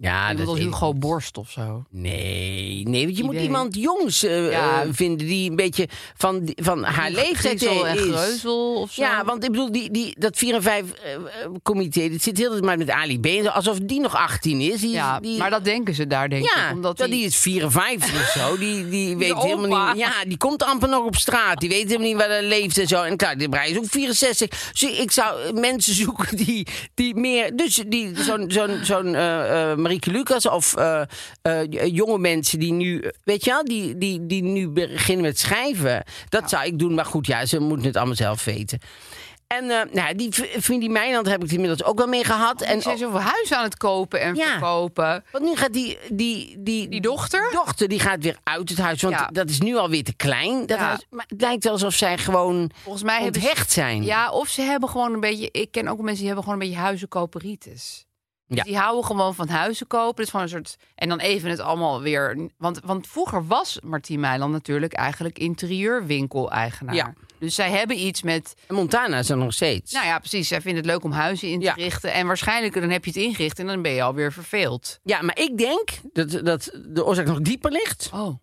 Speaker 2: Ja,
Speaker 3: Iemand
Speaker 2: Ah, dat
Speaker 3: als
Speaker 2: weet ik
Speaker 3: Hugo
Speaker 2: niet.
Speaker 3: Borst of zo.
Speaker 2: Nee, nee, want je moet
Speaker 3: Idee.
Speaker 2: iemand jongs eh,
Speaker 3: Ja.
Speaker 2: eh, vinden die een beetje van, die- van haar leeftijd
Speaker 3: Griezel en
Speaker 2: is.
Speaker 3: Greuzel of zo.
Speaker 2: Ja, want ik bedoel, die, die, dat 4 en 5 eh, eh, comité, dat zit heel de tijd maar met Ali B. en zo, Alsof die nog 18 is. Die,
Speaker 3: ja,
Speaker 2: die,
Speaker 3: maar dat denken ze daar denk
Speaker 2: ja,
Speaker 3: ik, omdat
Speaker 2: dat die is 54 of zo. Die, die weet helemaal
Speaker 3: opa.
Speaker 2: niet. Ja, die komt amper nog op straat. Die weet helemaal niet waar hij leeft en zo. En klaar, de Breij is ook 64. Dus ik zou eh, mensen zoeken die, die meer. Dus die, zo'n zo'n zo'n eh, eh, Marieke Lucas of eh, eh, jonge mensen die nu. eh, Weet je wel, die, die, die nu beginnen met schrijven. Dat zou ik doen. Maar goed, ja, ze moeten het allemaal zelf weten. En eh, nou, die v- vriend die Meiland heb ik het inmiddels ook wel mee gehad.
Speaker 3: en
Speaker 2: En
Speaker 3: Oh, zijn zoveel huis aan het kopen en
Speaker 2: Ja.
Speaker 3: verkopen.
Speaker 2: want nu gaat die, die, die,
Speaker 3: Die dochter?
Speaker 2: dochter die gaat weer uit het huis. Want
Speaker 3: Ja.
Speaker 2: dat is nu alweer te klein. Dat
Speaker 3: Ja.
Speaker 2: huis. Maar het lijkt wel alsof zij gewoon
Speaker 3: Volgens mij hebben ze,
Speaker 2: onthecht zijn.
Speaker 3: ja, of ze hebben gewoon een beetje. Ik ken ook mensen die hebben gewoon een beetje huizenkoperitis. Dus
Speaker 2: Ja.
Speaker 3: Die houden gewoon van huizen kopen. Dat is gewoon een soort. En dan even het allemaal weer. Want, want vroeger was Martien Meiland natuurlijk eigenlijk interieurwinkel-eigenaar.
Speaker 2: Ja.
Speaker 3: Dus zij hebben iets met.
Speaker 2: En Montana is er nog steeds.
Speaker 3: Nou ja, precies. Zij vinden het leuk om huizen in te
Speaker 2: Ja.
Speaker 3: richten. En waarschijnlijk dan heb je het ingericht en dan ben je alweer verveeld.
Speaker 2: Ja, maar ik denk dat, dat de oorzaak nog dieper ligt.
Speaker 3: Oh,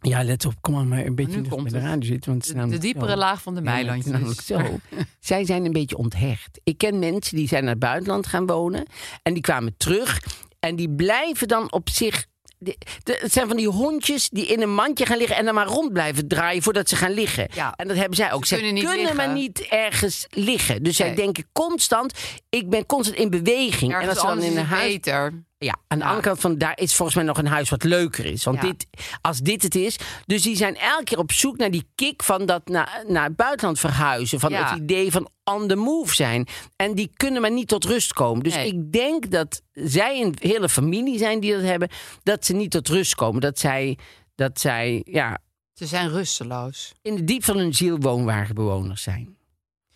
Speaker 2: Ja, let op. Kom maar, maar een
Speaker 3: nu
Speaker 2: dicht
Speaker 3: komt
Speaker 2: bij
Speaker 3: het.
Speaker 2: radio zitten. Want het is
Speaker 3: de, de
Speaker 2: namelijk
Speaker 3: diepere
Speaker 2: zo.
Speaker 3: laag van de
Speaker 2: Ja, het is
Speaker 3: Meilandjes.
Speaker 2: namelijk zo. Zij zijn een beetje onthecht. Ik ken mensen die zijn naar het buitenland gaan wonen. En die kwamen terug. En die blijven dan op zich... de- de- het zijn van die hondjes die in een mandje gaan liggen... en dan maar rond blijven draaien voordat ze gaan liggen.
Speaker 3: Ja.
Speaker 2: En dat hebben zij ook.
Speaker 3: Ze
Speaker 2: Ze
Speaker 3: kunnen niet liggen.
Speaker 2: maar niet ergens liggen. Dus zij
Speaker 3: Nee.
Speaker 2: denken constant... ik ben constant in beweging.
Speaker 3: Ergens
Speaker 2: en als ze dan
Speaker 3: anders
Speaker 2: in
Speaker 3: is
Speaker 2: een
Speaker 3: het
Speaker 2: huis...
Speaker 3: beter.
Speaker 2: Ja, aan de andere kant van daar is volgens mij nog een huis wat leuker is. Want
Speaker 3: Ja.
Speaker 2: dit, als dit het is. Dus die zijn elke keer op zoek naar die kick van dat na, naar het buitenland verhuizen. Van
Speaker 3: Ja.
Speaker 2: het idee van on the move zijn. En die kunnen maar niet tot rust komen. Dus
Speaker 3: Nee.
Speaker 2: ik denk dat zij een hele familie zijn die dat hebben. Dat ze niet tot rust komen. Dat zij, dat zij ja,
Speaker 3: Ze zijn rusteloos.
Speaker 2: in het diep van hun ziel woonwagenbewoners zijn.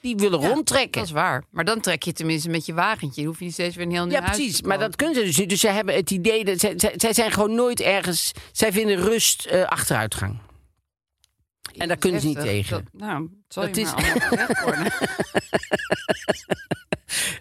Speaker 2: Die willen rondtrekken.
Speaker 3: Dat is waar. Maar dan trek je tenminste met je wagentje. Dan hoef je niet steeds weer een heel nieuw
Speaker 2: Ja,
Speaker 3: huis te
Speaker 2: precies.
Speaker 3: kopen.
Speaker 2: Maar dat kunnen ze dus niet. Dus zij hebben het idee dat zij, zij, zij zijn gewoon nooit ergens. Zij vinden rust eh, achteruitgang. En daar kunnen ze niet
Speaker 3: Heftig.
Speaker 2: tegen.
Speaker 3: Dat, nou, het zal
Speaker 2: Dat
Speaker 3: je
Speaker 2: is-
Speaker 3: maar allemaal gezegd worden.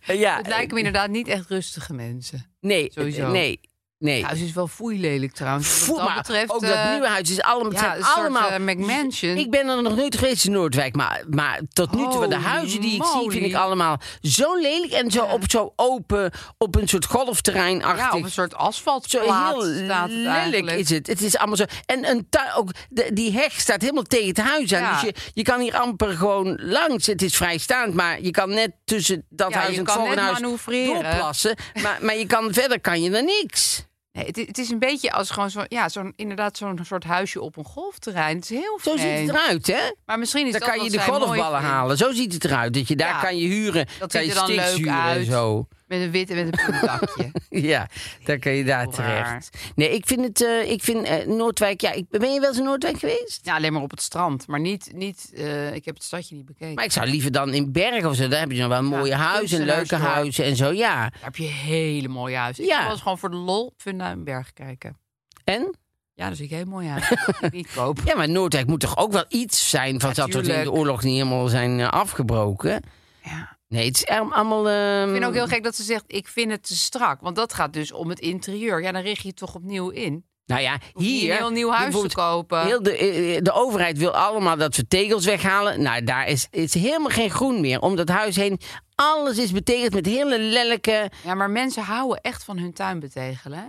Speaker 2: Eh, ja,
Speaker 3: Het lijken me inderdaad niet echt rustige mensen.
Speaker 2: eh, nee,
Speaker 3: sowieso.
Speaker 2: eh, nee, nee.
Speaker 3: Het huis is wel foeilelijk trouwens. Wat
Speaker 2: Voel
Speaker 3: dat
Speaker 2: maar,
Speaker 3: betreft...
Speaker 2: ook
Speaker 3: eh,
Speaker 2: dat nieuwe huis is allemaal, het
Speaker 3: ja,
Speaker 2: zijn
Speaker 3: een soort,
Speaker 2: allemaal
Speaker 3: eh, McMansion.
Speaker 2: Ik ben er nog nooit geweest in Noordwijk, maar, maar tot nu toe de
Speaker 3: Holy
Speaker 2: huizen die ik zie vind
Speaker 3: moly.
Speaker 2: ik allemaal zo lelijk en zo op zo open op een soort golfterrein
Speaker 3: ja, op een
Speaker 2: achtig.
Speaker 3: soort
Speaker 2: Zo
Speaker 3: asfaltplaat
Speaker 2: heel
Speaker 3: staat het
Speaker 2: lelijk
Speaker 3: eigenlijk.
Speaker 2: is het. Het is allemaal zo. En een tuin, ook de- die heg staat helemaal tegen het huis aan.
Speaker 3: Ja.
Speaker 2: Dus je, je kan hier amper gewoon langs. Het is vrijstaand, maar je kan net tussen dat
Speaker 3: Ja,
Speaker 2: huis
Speaker 3: je
Speaker 2: en het
Speaker 3: kan net
Speaker 2: volgende huis
Speaker 3: manoeuvreren.
Speaker 2: doorplassen. Maar, maar je kan, verder kan je er niks.
Speaker 3: Nee, het, het is een beetje als gewoon zo'n... Ja, zo'n inderdaad zo'n soort huisje op een golfterrein. Het is heel
Speaker 2: Zo
Speaker 3: vreemd.
Speaker 2: ziet het eruit, hè?
Speaker 3: Maar misschien is
Speaker 2: Dan
Speaker 3: dat
Speaker 2: kan je
Speaker 3: wat
Speaker 2: de
Speaker 3: zij mooi
Speaker 2: golfballen
Speaker 3: vinden.
Speaker 2: halen. Zo ziet het eruit. Dat je daar
Speaker 3: Ja.
Speaker 2: kan je huren.
Speaker 3: Dat
Speaker 2: kan
Speaker 3: ziet
Speaker 2: je
Speaker 3: er dan
Speaker 2: sticks
Speaker 3: leuk
Speaker 2: huren
Speaker 3: uit.
Speaker 2: en zo.
Speaker 3: Met een wit en met een groen dakje.
Speaker 2: Ja, daar kan je daar
Speaker 3: Heel raar.
Speaker 2: terecht. Nee, ik vind het... eh, ik vind eh, Noordwijk... Ja, ik, ben je wel eens in Noordwijk geweest?
Speaker 3: Ja, alleen maar op het strand. Maar niet, niet eh, ik heb het stadje niet bekeken.
Speaker 2: Maar ik zou liever dan in Bergen of zo. Daar heb je nog wel een mooie huizen en leuke
Speaker 3: kunstenaarsdorp.
Speaker 2: huizen en zo. Ja.
Speaker 3: Daar heb je hele mooie huizen. Ik
Speaker 2: Ja.
Speaker 3: ja. was gewoon voor de lol Funda en Berg kijken.
Speaker 2: En?
Speaker 3: Ja, dus ik heel mooi huis. Die ik niet koop.
Speaker 2: Ja, maar Noordwijk moet toch ook wel iets zijn van dat
Speaker 3: Ja,
Speaker 2: soort dingen. De
Speaker 3: tuurlijk.
Speaker 2: oorlog niet helemaal zijn eh, afgebroken.
Speaker 3: Ja.
Speaker 2: Nee, het is er- allemaal... ehm,
Speaker 3: Ik vind ook heel gek dat ze zegt, ik vind het te strak. Want dat gaat dus om het interieur. Ja, dan richt je het toch opnieuw in.
Speaker 2: Nou ja,
Speaker 3: Hoef je
Speaker 2: hier...
Speaker 3: niet een nieuw huis te
Speaker 2: bijvoorbeeld,
Speaker 3: kopen.
Speaker 2: Heel de, eh, de overheid wil allemaal dat we tegels weghalen. Nou, daar is, is helemaal geen groen meer. Om dat huis heen, alles is betegeld met hele lelijke...
Speaker 3: Ja, maar mensen houden echt van hun tuin betegelen. hè?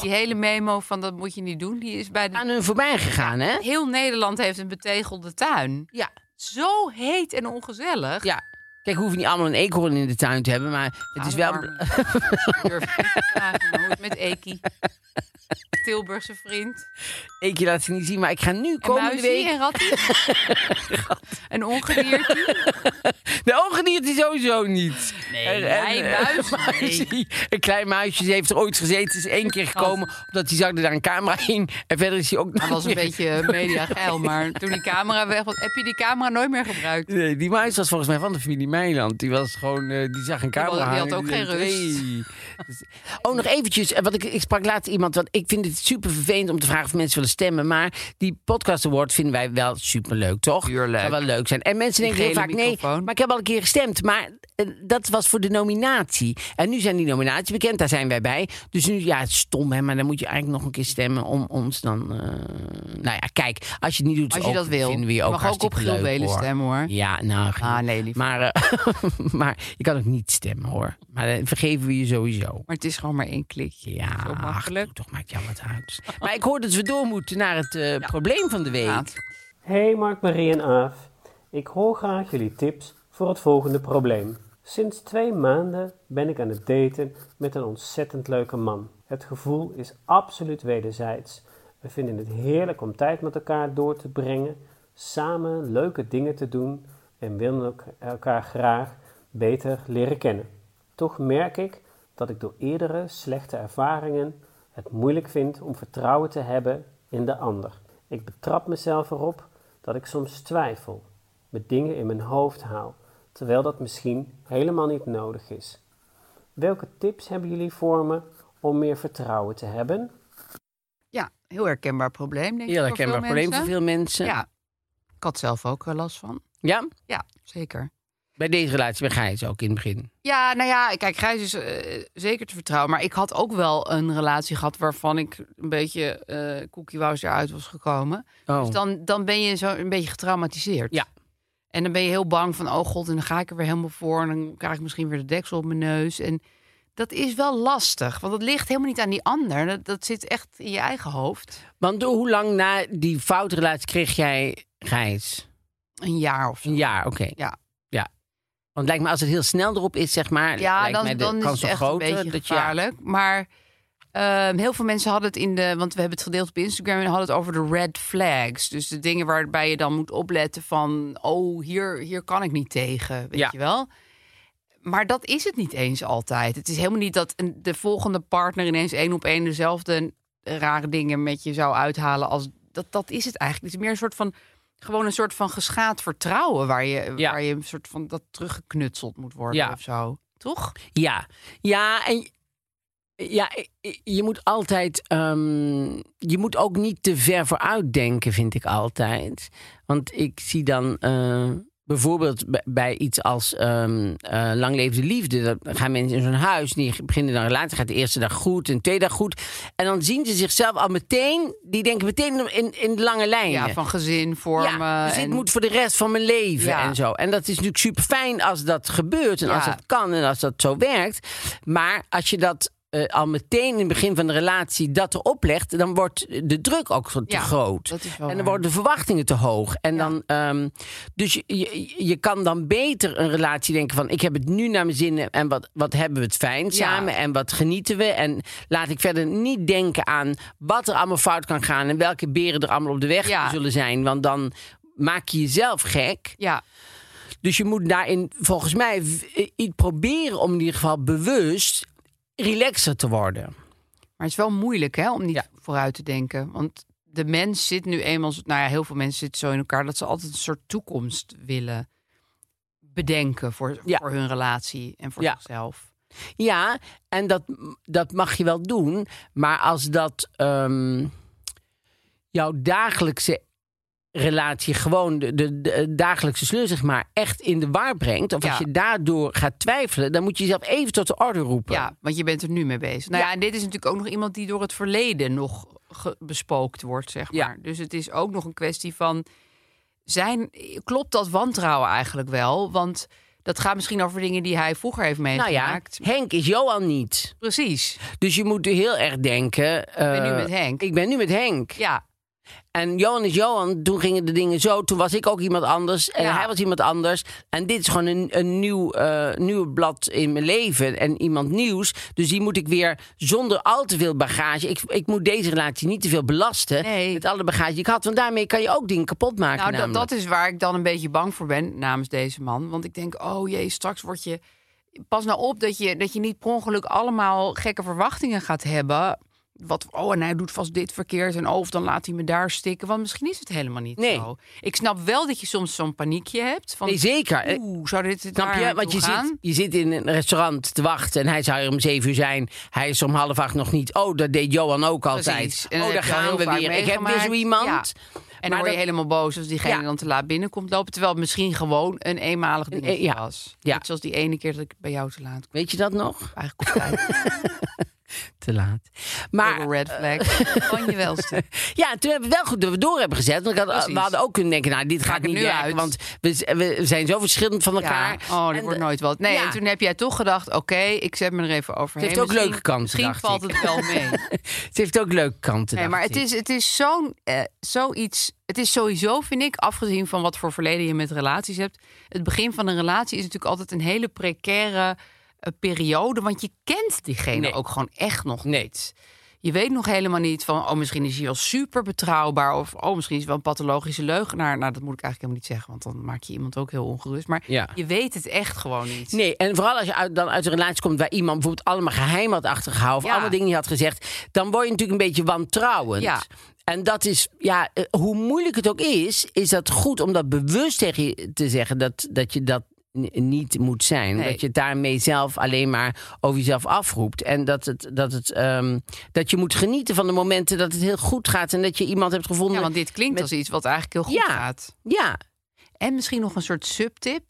Speaker 3: Die hele memo van dat moet je niet doen, die is bij de...
Speaker 2: Aan hun voorbij gegaan, hè?
Speaker 3: Heel Nederland heeft een betegelde tuin.
Speaker 2: Ja,
Speaker 3: Zo heet en ongezellig.
Speaker 2: ja. Kijk, we hoeven niet allemaal een eekhoorn in de tuin te hebben, maar het is wel...
Speaker 3: Ik durf niet te vragen, maar hoe het met Eki? Tilburgse vriend.
Speaker 2: Ik laat ze niet zien, maar ik ga nu
Speaker 3: En
Speaker 2: komende
Speaker 3: muizie
Speaker 2: week...
Speaker 3: en rattie. en ongedierte.
Speaker 2: De ogen die het sowieso niet.
Speaker 3: Nee,
Speaker 2: En- en,
Speaker 3: jij
Speaker 2: eh,
Speaker 3: muis, nee.
Speaker 2: muisie. Een klein muisje ze heeft er ooit gezeten. Is één keer gekomen omdat hij zag dat daar een camera in. En verder is hij ook
Speaker 3: Dat
Speaker 2: nooit
Speaker 3: Oh. was een
Speaker 2: meer-
Speaker 3: beetje media geil, maar toen die camera weg was, heb je die camera nooit meer gebruikt.
Speaker 2: Nee, die muis was volgens mij van de familie Meiland. Die was gewoon, eh, die zag een
Speaker 3: Die
Speaker 2: camera.
Speaker 3: had- die had
Speaker 2: hangen en
Speaker 3: ook geen
Speaker 2: denkt,
Speaker 3: rust.
Speaker 2: "Hey." Dus- oh, nog eventjes. eh, Want ik, ik sprak laatst iemand. Want ik vind het super vervelend om te vragen of mensen willen stemmen. Maar die podcast award vinden wij wel super leuk, toch?
Speaker 3: Tuurlijk.
Speaker 2: Zou wel leuk zijn. En mensen denken heel
Speaker 3: gele
Speaker 2: vaak nee.
Speaker 3: microfoon.
Speaker 2: Maar ik heb al een keer gestemd. Maar eh, dat was voor de nominatie. En nu zijn die nominaties bekend. Daar zijn wij bij. Dus nu, ja, het is stom, hè. Maar dan moet je eigenlijk nog een keer stemmen om ons dan. eh, Nou ja, kijk, als je het niet doet,
Speaker 3: Als
Speaker 2: is
Speaker 3: je
Speaker 2: ook-
Speaker 3: dat wil.
Speaker 2: vinden we je
Speaker 3: Je
Speaker 2: ook
Speaker 3: mag ook op
Speaker 2: hartstikke
Speaker 3: Giel
Speaker 2: leuk,
Speaker 3: Belen
Speaker 2: hoor.
Speaker 3: stemmen hoor.
Speaker 2: Ja, nou.
Speaker 3: Ah, nee, lief.
Speaker 2: Maar, eh, maar je kan ook niet stemmen hoor. Maar dan vergeven we je sowieso.
Speaker 3: Maar het is gewoon maar één klikje.
Speaker 2: Ja,
Speaker 3: Zo
Speaker 2: ach,
Speaker 3: makkelijk.
Speaker 2: doe toch maakt jou wat uit. Maar ik hoor dat we door moeten naar het eh, probleem van de week.
Speaker 3: Laat.
Speaker 4: Hey Mark, Marie en Aaf. Ik hoor graag jullie tips voor het volgende probleem. Sinds twee maanden ben ik aan het daten met een ontzettend leuke man. Het gevoel is absoluut wederzijds. We vinden het heerlijk om tijd met elkaar door te brengen, samen leuke dingen te doen en willen ook elkaar graag beter leren kennen. Toch merk ik dat ik door eerdere slechte ervaringen het moeilijk vind om vertrouwen te hebben in de ander. Ik betrap mezelf erop dat ik soms twijfel, me dingen in mijn hoofd haal, terwijl dat misschien helemaal niet nodig is. Welke tips hebben jullie voor me om meer vertrouwen te hebben?
Speaker 3: Ja, heel herkenbaar probleem, denk ik.
Speaker 2: Heel
Speaker 3: voor veel
Speaker 2: herkenbaar probleem voor
Speaker 3: mensen.
Speaker 2: veel mensen. Ja.
Speaker 3: Ja, ik had zelf ook eh, last van. Ja, zeker.
Speaker 2: Bij deze relatie bij Gijs ook in het begin.
Speaker 3: Ja, nou ja, kijk, Gijs is eh, zeker te vertrouwen. Maar ik had ook wel een relatie gehad waarvan ik een beetje eh koekiewous eruit was gekomen.
Speaker 2: Oh.
Speaker 3: Dus dan, dan ben je zo een beetje getraumatiseerd.
Speaker 2: Ja.
Speaker 3: En dan ben je heel bang van, oh god, en dan ga ik er weer helemaal voor. En dan krijg ik misschien weer de deksel op mijn neus. En dat is wel lastig, want dat ligt helemaal niet aan die ander. Dat, dat zit echt in je eigen hoofd.
Speaker 2: Want hoe lang na die foutrelatie kreeg jij Gijs?
Speaker 3: Een jaar of zo.
Speaker 2: Een jaar, oké.
Speaker 3: Ja.
Speaker 2: ja. Want lijkt me als het heel snel erop is, zeg maar.
Speaker 3: Ja,
Speaker 2: lijkt
Speaker 3: dan,
Speaker 2: mij de
Speaker 3: dan is
Speaker 2: kans
Speaker 3: het
Speaker 2: nog
Speaker 3: echt
Speaker 2: groter
Speaker 3: een beetje
Speaker 2: dat je- ja.
Speaker 3: gevaarlijk. Maar ehm, heel veel mensen hadden het in de... Want we hebben het gedeeld op Instagram en hadden het over de red flags. Dus de dingen waarbij je dan moet opletten van... Oh, hier, hier kan ik niet tegen, weet
Speaker 2: Ja.
Speaker 3: je wel? Maar dat is het niet eens altijd. Het is helemaal niet dat een- de volgende partner ineens één op één dezelfde rare dingen met je zou uithalen als dat. Dat is het eigenlijk. Het is meer een soort van gewoon een soort van geschaad vertrouwen waar je,
Speaker 2: Ja.
Speaker 3: waar je een soort van dat teruggeknutseld moet worden
Speaker 2: Ja.
Speaker 3: of zo. Toch?
Speaker 2: Ja, ja, en ja, je moet altijd, ehm, je moet ook niet te ver vooruit denken, vind ik altijd. Want ik zie dan eh, bijvoorbeeld bij- bij iets als ehm eh, lang leefde liefde, dan gaan mensen in zo'n huis, die beginnen dan een relatie, gaat de eerste dag goed en de tweede dag goed, en dan zien ze zichzelf al meteen, die denken meteen in, in de lange lijnen.
Speaker 3: Ja, van gezin vormen.
Speaker 2: Ja, dus dit
Speaker 3: en-
Speaker 2: moet voor de rest van mijn leven
Speaker 3: Ja.
Speaker 2: en zo. En dat is natuurlijk super fijn als dat gebeurt en als
Speaker 3: Ja.
Speaker 2: dat kan en als dat zo werkt. Maar als je dat eh, al meteen in het begin van de relatie dat erop legt, dan wordt de druk ook zo te
Speaker 3: Ja,
Speaker 2: groot.
Speaker 3: dat is wel
Speaker 2: en dan
Speaker 3: waar.
Speaker 2: worden de verwachtingen te hoog. En
Speaker 3: Ja.
Speaker 2: dan, ehm, dus je, je, je kan dan beter een relatie denken van ik heb het nu naar mijn zin en wat, wat hebben we het fijn
Speaker 3: Ja.
Speaker 2: samen en wat genieten we. En laat ik verder niet denken aan wat er allemaal fout kan gaan en welke beren er allemaal op de weg
Speaker 3: Ja.
Speaker 2: zullen zijn. Want dan maak je jezelf gek.
Speaker 3: ja,
Speaker 2: Dus je moet daarin volgens mij v- i- i- proberen om in ieder geval bewust relaxer te worden.
Speaker 3: maar het is wel moeilijk hè, om niet
Speaker 2: Ja.
Speaker 3: vooruit te denken. Want de mens zit nu eenmaal, zo- nou ja, heel veel mensen zitten zo in elkaar dat ze altijd een soort toekomst willen bedenken voor,
Speaker 2: Ja.
Speaker 3: voor hun relatie en voor
Speaker 2: Ja.
Speaker 3: zichzelf.
Speaker 2: Ja, en dat, dat mag je wel doen. Maar als dat ehm, jouw dagelijkse relatie, gewoon de, de, de dagelijkse sleur, zeg maar, echt in de war brengt. Of
Speaker 3: Ja.
Speaker 2: als je daardoor gaat twijfelen, dan moet je jezelf even tot de orde roepen.
Speaker 3: Ja, want je bent er nu mee bezig. Nou ja, en dit is natuurlijk ook nog iemand die door het verleden nog ge- bespookt wordt, zeg
Speaker 2: Ja.
Speaker 3: maar. Dus het is ook nog een kwestie van... Zijn, klopt dat wantrouwen eigenlijk wel? Want dat gaat misschien over dingen die hij vroeger heeft
Speaker 2: Nou ja,
Speaker 3: meegemaakt.
Speaker 2: Henk is Johan niet.
Speaker 3: Precies.
Speaker 2: Dus je moet heel erg denken... Ik
Speaker 3: ben nu met Henk.
Speaker 2: Eh, Ik ben nu met Henk.
Speaker 3: Ja,
Speaker 2: En Johan is Johan, toen gingen de dingen zo. Toen was ik ook iemand anders en
Speaker 3: Ja.
Speaker 2: hij was iemand anders. En dit is gewoon een, een nieuw, eh, nieuw blad in mijn leven en iemand nieuws. Dus die moet ik weer zonder al te veel bagage... Ik, ik moet deze relatie niet te veel belasten
Speaker 3: Nee.
Speaker 2: met alle bagage die ik had. Want daarmee kan je ook dingen kapot maken
Speaker 3: nou dat,
Speaker 2: namelijk.
Speaker 3: dat is waar ik dan een beetje bang voor ben namens deze man. Want ik denk, oh jee, straks word je... Pas nou op dat je, dat je niet per ongeluk allemaal gekke verwachtingen gaat hebben... Wat, oh, en hij doet vast dit verkeerd. En oh, of dan laat hij me daar stikken. Want misschien is het helemaal niet
Speaker 2: Nee.
Speaker 3: zo. Ik snap wel dat je soms zo'n paniekje hebt. Van,
Speaker 2: Nee, zeker. Eh,
Speaker 3: Oeh, zou dit het
Speaker 2: Snap je? Want je
Speaker 3: gaan?
Speaker 2: zit, je zit in een restaurant te wachten en hij zou er om zeven uur zijn. Hij is om half acht nog niet. Oh, dat deed Johan ook altijd.
Speaker 3: Precies. En dan
Speaker 2: oh,
Speaker 3: heb
Speaker 2: daar
Speaker 3: je al
Speaker 2: gaan
Speaker 3: heel
Speaker 2: we
Speaker 3: vaak
Speaker 2: weer. Ik heb weer
Speaker 3: meegemaakt.
Speaker 2: zo iemand.
Speaker 3: Ja. En dan
Speaker 2: Maar
Speaker 3: word je
Speaker 2: dat-
Speaker 3: helemaal boos als diegene
Speaker 2: Ja.
Speaker 3: dan te laat binnen komt lopen. Terwijl het misschien gewoon een e- eenmalig dingetje
Speaker 2: ja.
Speaker 3: was.
Speaker 2: Ja.
Speaker 3: Net zoals die ene keer dat ik bij jou te laat kwam.
Speaker 2: Weet je dat nog?
Speaker 3: Eigenlijk op tijd.
Speaker 2: Te laat.
Speaker 3: Maar, eh,
Speaker 2: Maar
Speaker 3: red flag. Kan je wel stuk.
Speaker 2: ja, toen hebben we wel goed dat we door hebben gezet. Want ik had-
Speaker 3: Precies.
Speaker 2: we hadden ook kunnen denken, nou, dit gaat
Speaker 3: ik er
Speaker 2: niet
Speaker 3: nu
Speaker 2: werken.
Speaker 3: uit?
Speaker 2: Want we, we zijn zo verschillend van
Speaker 3: Ja.
Speaker 2: elkaar.
Speaker 3: Oh,
Speaker 2: En
Speaker 3: dat wordt
Speaker 2: de-
Speaker 3: nooit wat. Nee,
Speaker 2: Ja.
Speaker 3: en toen heb jij toch gedacht, oké, ik zet me er even overheen.
Speaker 2: Het heeft ook
Speaker 3: Misschien-
Speaker 2: leuke kanten,
Speaker 3: Misschien
Speaker 2: dacht
Speaker 3: valt
Speaker 2: ik.
Speaker 3: het wel mee.
Speaker 2: Het heeft ook leuke kanten.
Speaker 3: Nee,
Speaker 2: dacht
Speaker 3: maar het
Speaker 2: ik.
Speaker 3: is, het is zo'n, eh, zoiets. Het is sowieso, vind ik, afgezien van wat voor verleden je met relaties hebt. Het begin van een relatie is natuurlijk altijd een hele precaire eh, periode. Want je kent diegene
Speaker 2: Nee.
Speaker 3: ook gewoon echt nog
Speaker 2: Nee.
Speaker 3: niet. Je weet nog helemaal niet van, oh, misschien is hij wel super betrouwbaar. Of, oh, misschien is hij wel een pathologische leugenaar. Nou, dat moet ik eigenlijk helemaal niet zeggen, want dan maak je iemand ook heel ongerust. Maar
Speaker 2: Ja.
Speaker 3: je weet het echt gewoon niet.
Speaker 2: Nee, en vooral als je uit, dan uit een relatie komt waar iemand bijvoorbeeld allemaal geheim had achtergehouden. of
Speaker 3: Ja.
Speaker 2: allemaal dingen die had gezegd. dan word je natuurlijk een beetje wantrouwend.
Speaker 3: Ja.
Speaker 2: En dat is, ja, eh, hoe moeilijk het ook is, is dat goed om dat bewust tegen je te zeggen dat, dat je dat n- niet moet zijn.
Speaker 3: Nee.
Speaker 2: Dat je het daarmee zelf alleen maar over jezelf afroept. En dat, het, dat, het, ehm, dat je moet genieten van de momenten dat het heel goed gaat. En dat je iemand hebt gevonden.
Speaker 3: Ja, want dit klinkt als iets wat eigenlijk heel goed
Speaker 2: Ja.
Speaker 3: gaat.
Speaker 2: Ja,
Speaker 3: En misschien nog een soort subtip.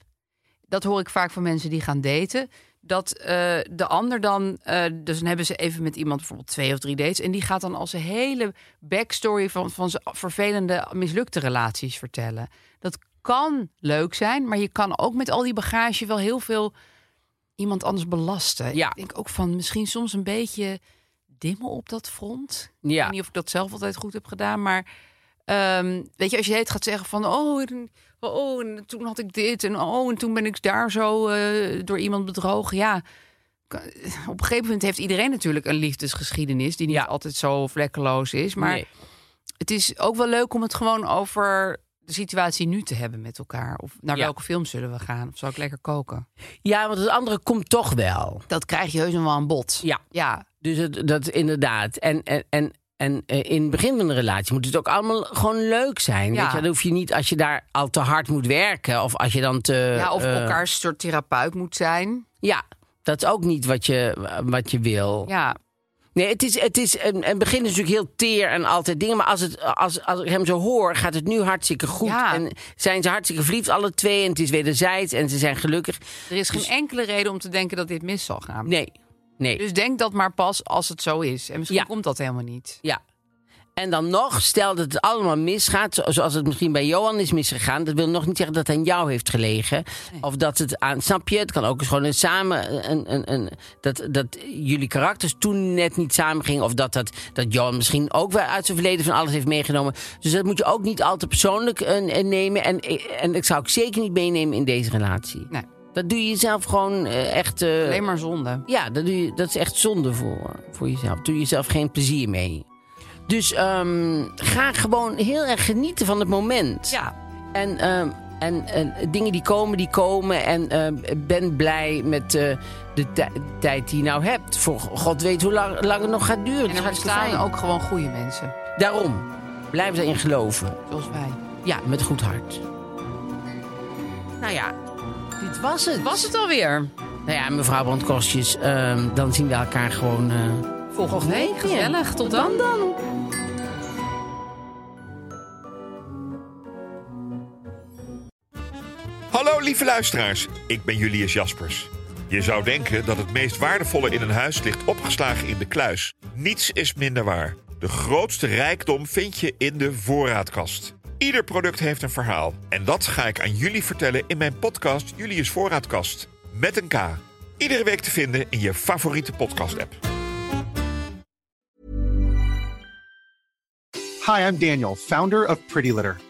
Speaker 3: Dat hoor ik vaak van mensen die gaan daten. Dat eh, de ander dan. eh, dus dan hebben ze even met iemand bijvoorbeeld twee of drie dates. En die gaat dan al zijn hele backstory van, van zijn vervelende, mislukte relaties vertellen. Dat kan leuk zijn, maar je kan ook met al die bagage wel heel veel iemand anders belasten.
Speaker 2: Ja.
Speaker 3: Ik denk ook van misschien soms een beetje dimmen op dat front. Ik
Speaker 2: ja.
Speaker 3: weet niet of ik dat zelf altijd goed heb gedaan, maar ehm, weet je, als je het gaat zeggen van oh, en, oh, en toen had ik dit en oh, en toen ben ik daar zo eh, door iemand bedrogen. Ja, kan- op een gegeven moment heeft iedereen natuurlijk een liefdesgeschiedenis die niet
Speaker 2: Ja.
Speaker 3: altijd zo vlekkeloos is, maar
Speaker 2: Nee.
Speaker 3: het is ook wel leuk om het gewoon over de situatie nu te hebben met elkaar. Of naar
Speaker 2: Ja.
Speaker 3: welke film zullen we gaan? Of zal ik lekker koken?
Speaker 2: ja, want het andere komt toch wel.
Speaker 3: Dat krijg je heus nog wel aan bod.
Speaker 2: Ja.
Speaker 3: Ja,
Speaker 2: Dus het, dat inderdaad. En, en, en, en eh, in het begin van een relatie moet het ook allemaal gewoon leuk zijn.
Speaker 3: Ja.
Speaker 2: Weet je? Dan hoef je niet als je daar al te hard moet werken. Of als je dan te.
Speaker 3: ja of
Speaker 2: eh,
Speaker 3: elkaar soort therapeut moet zijn.
Speaker 2: Ja, dat is ook niet wat je, wat je wil.
Speaker 3: Ja,
Speaker 2: Nee, het is, het is een, een begin is natuurlijk heel teer en altijd dingen. Maar als, het, als, als ik hem zo hoor, gaat het nu hartstikke goed.
Speaker 3: Ja.
Speaker 2: En zijn ze hartstikke verliefd, alle twee. En het is wederzijds en ze zijn gelukkig.
Speaker 3: Er is geen enkele reden om te denken dat dit mis zal gaan.
Speaker 2: Dus- Nee, nee.
Speaker 3: Dus denk dat maar pas als het zo is. En misschien
Speaker 2: Ja.
Speaker 3: komt dat helemaal niet.
Speaker 2: Ja. En dan nog, stel dat het allemaal misgaat, zo- zoals het misschien bij Johan is misgegaan, dat wil nog niet zeggen dat het aan jou heeft gelegen. Of dat het aan, snap je, het kan ook eens gewoon een samen, een, een, een, dat, dat jullie karakters toen net niet samen gingen. Of dat, dat, dat Johan misschien ook wel uit zijn verleden van alles heeft meegenomen. Dus dat moet je ook niet al te persoonlijk eh, eh, nemen. En, eh, en dat zou ik zeker niet meenemen in deze relatie.
Speaker 3: Nee,
Speaker 2: Dat doe je jezelf gewoon eh, echt... eh,
Speaker 3: alleen maar zonde.
Speaker 2: ja, dat, doe je, dat is echt zonde voor, voor jezelf. Doe jezelf geen plezier mee. Dus ehm, ga gewoon heel erg genieten van het moment.
Speaker 3: Ja,
Speaker 2: En, ehm, en, en dingen die komen, die komen. En ehm, ben blij met eh, de tij- tijd die je nou hebt. Voor god weet hoe lang, lang het nog gaat duren.
Speaker 3: en
Speaker 2: Het is
Speaker 3: er
Speaker 2: hartstikke
Speaker 3: bestaan
Speaker 2: fijn.
Speaker 3: ook gewoon goede mensen,
Speaker 2: Daarom, blijf daarin geloven.
Speaker 3: zoals wij.
Speaker 2: Ja, met goed hart. Nou ja, dit was het.
Speaker 3: Was het alweer?
Speaker 2: Nou ja, mevrouw Brandkostjes, ehm, dan zien we elkaar gewoon... eh,
Speaker 3: Volgende
Speaker 2: week
Speaker 3: week,
Speaker 2: weer.
Speaker 3: gezellig. Tot dan dan.
Speaker 5: Hallo lieve luisteraars, ik ben Julius Jaspers. Je zou denken dat het meest waardevolle in een huis ligt opgeslagen in de kluis. Niets is minder waar. De grootste rijkdom vind je in de voorraadkast. Ieder product heeft een verhaal. En dat ga ik aan jullie vertellen in mijn podcast Julius Voorraadkast. Met een K. Iedere week te vinden in je favoriete podcast-app.
Speaker 6: Hi, I'm Daniel, founder of Pretty Litter.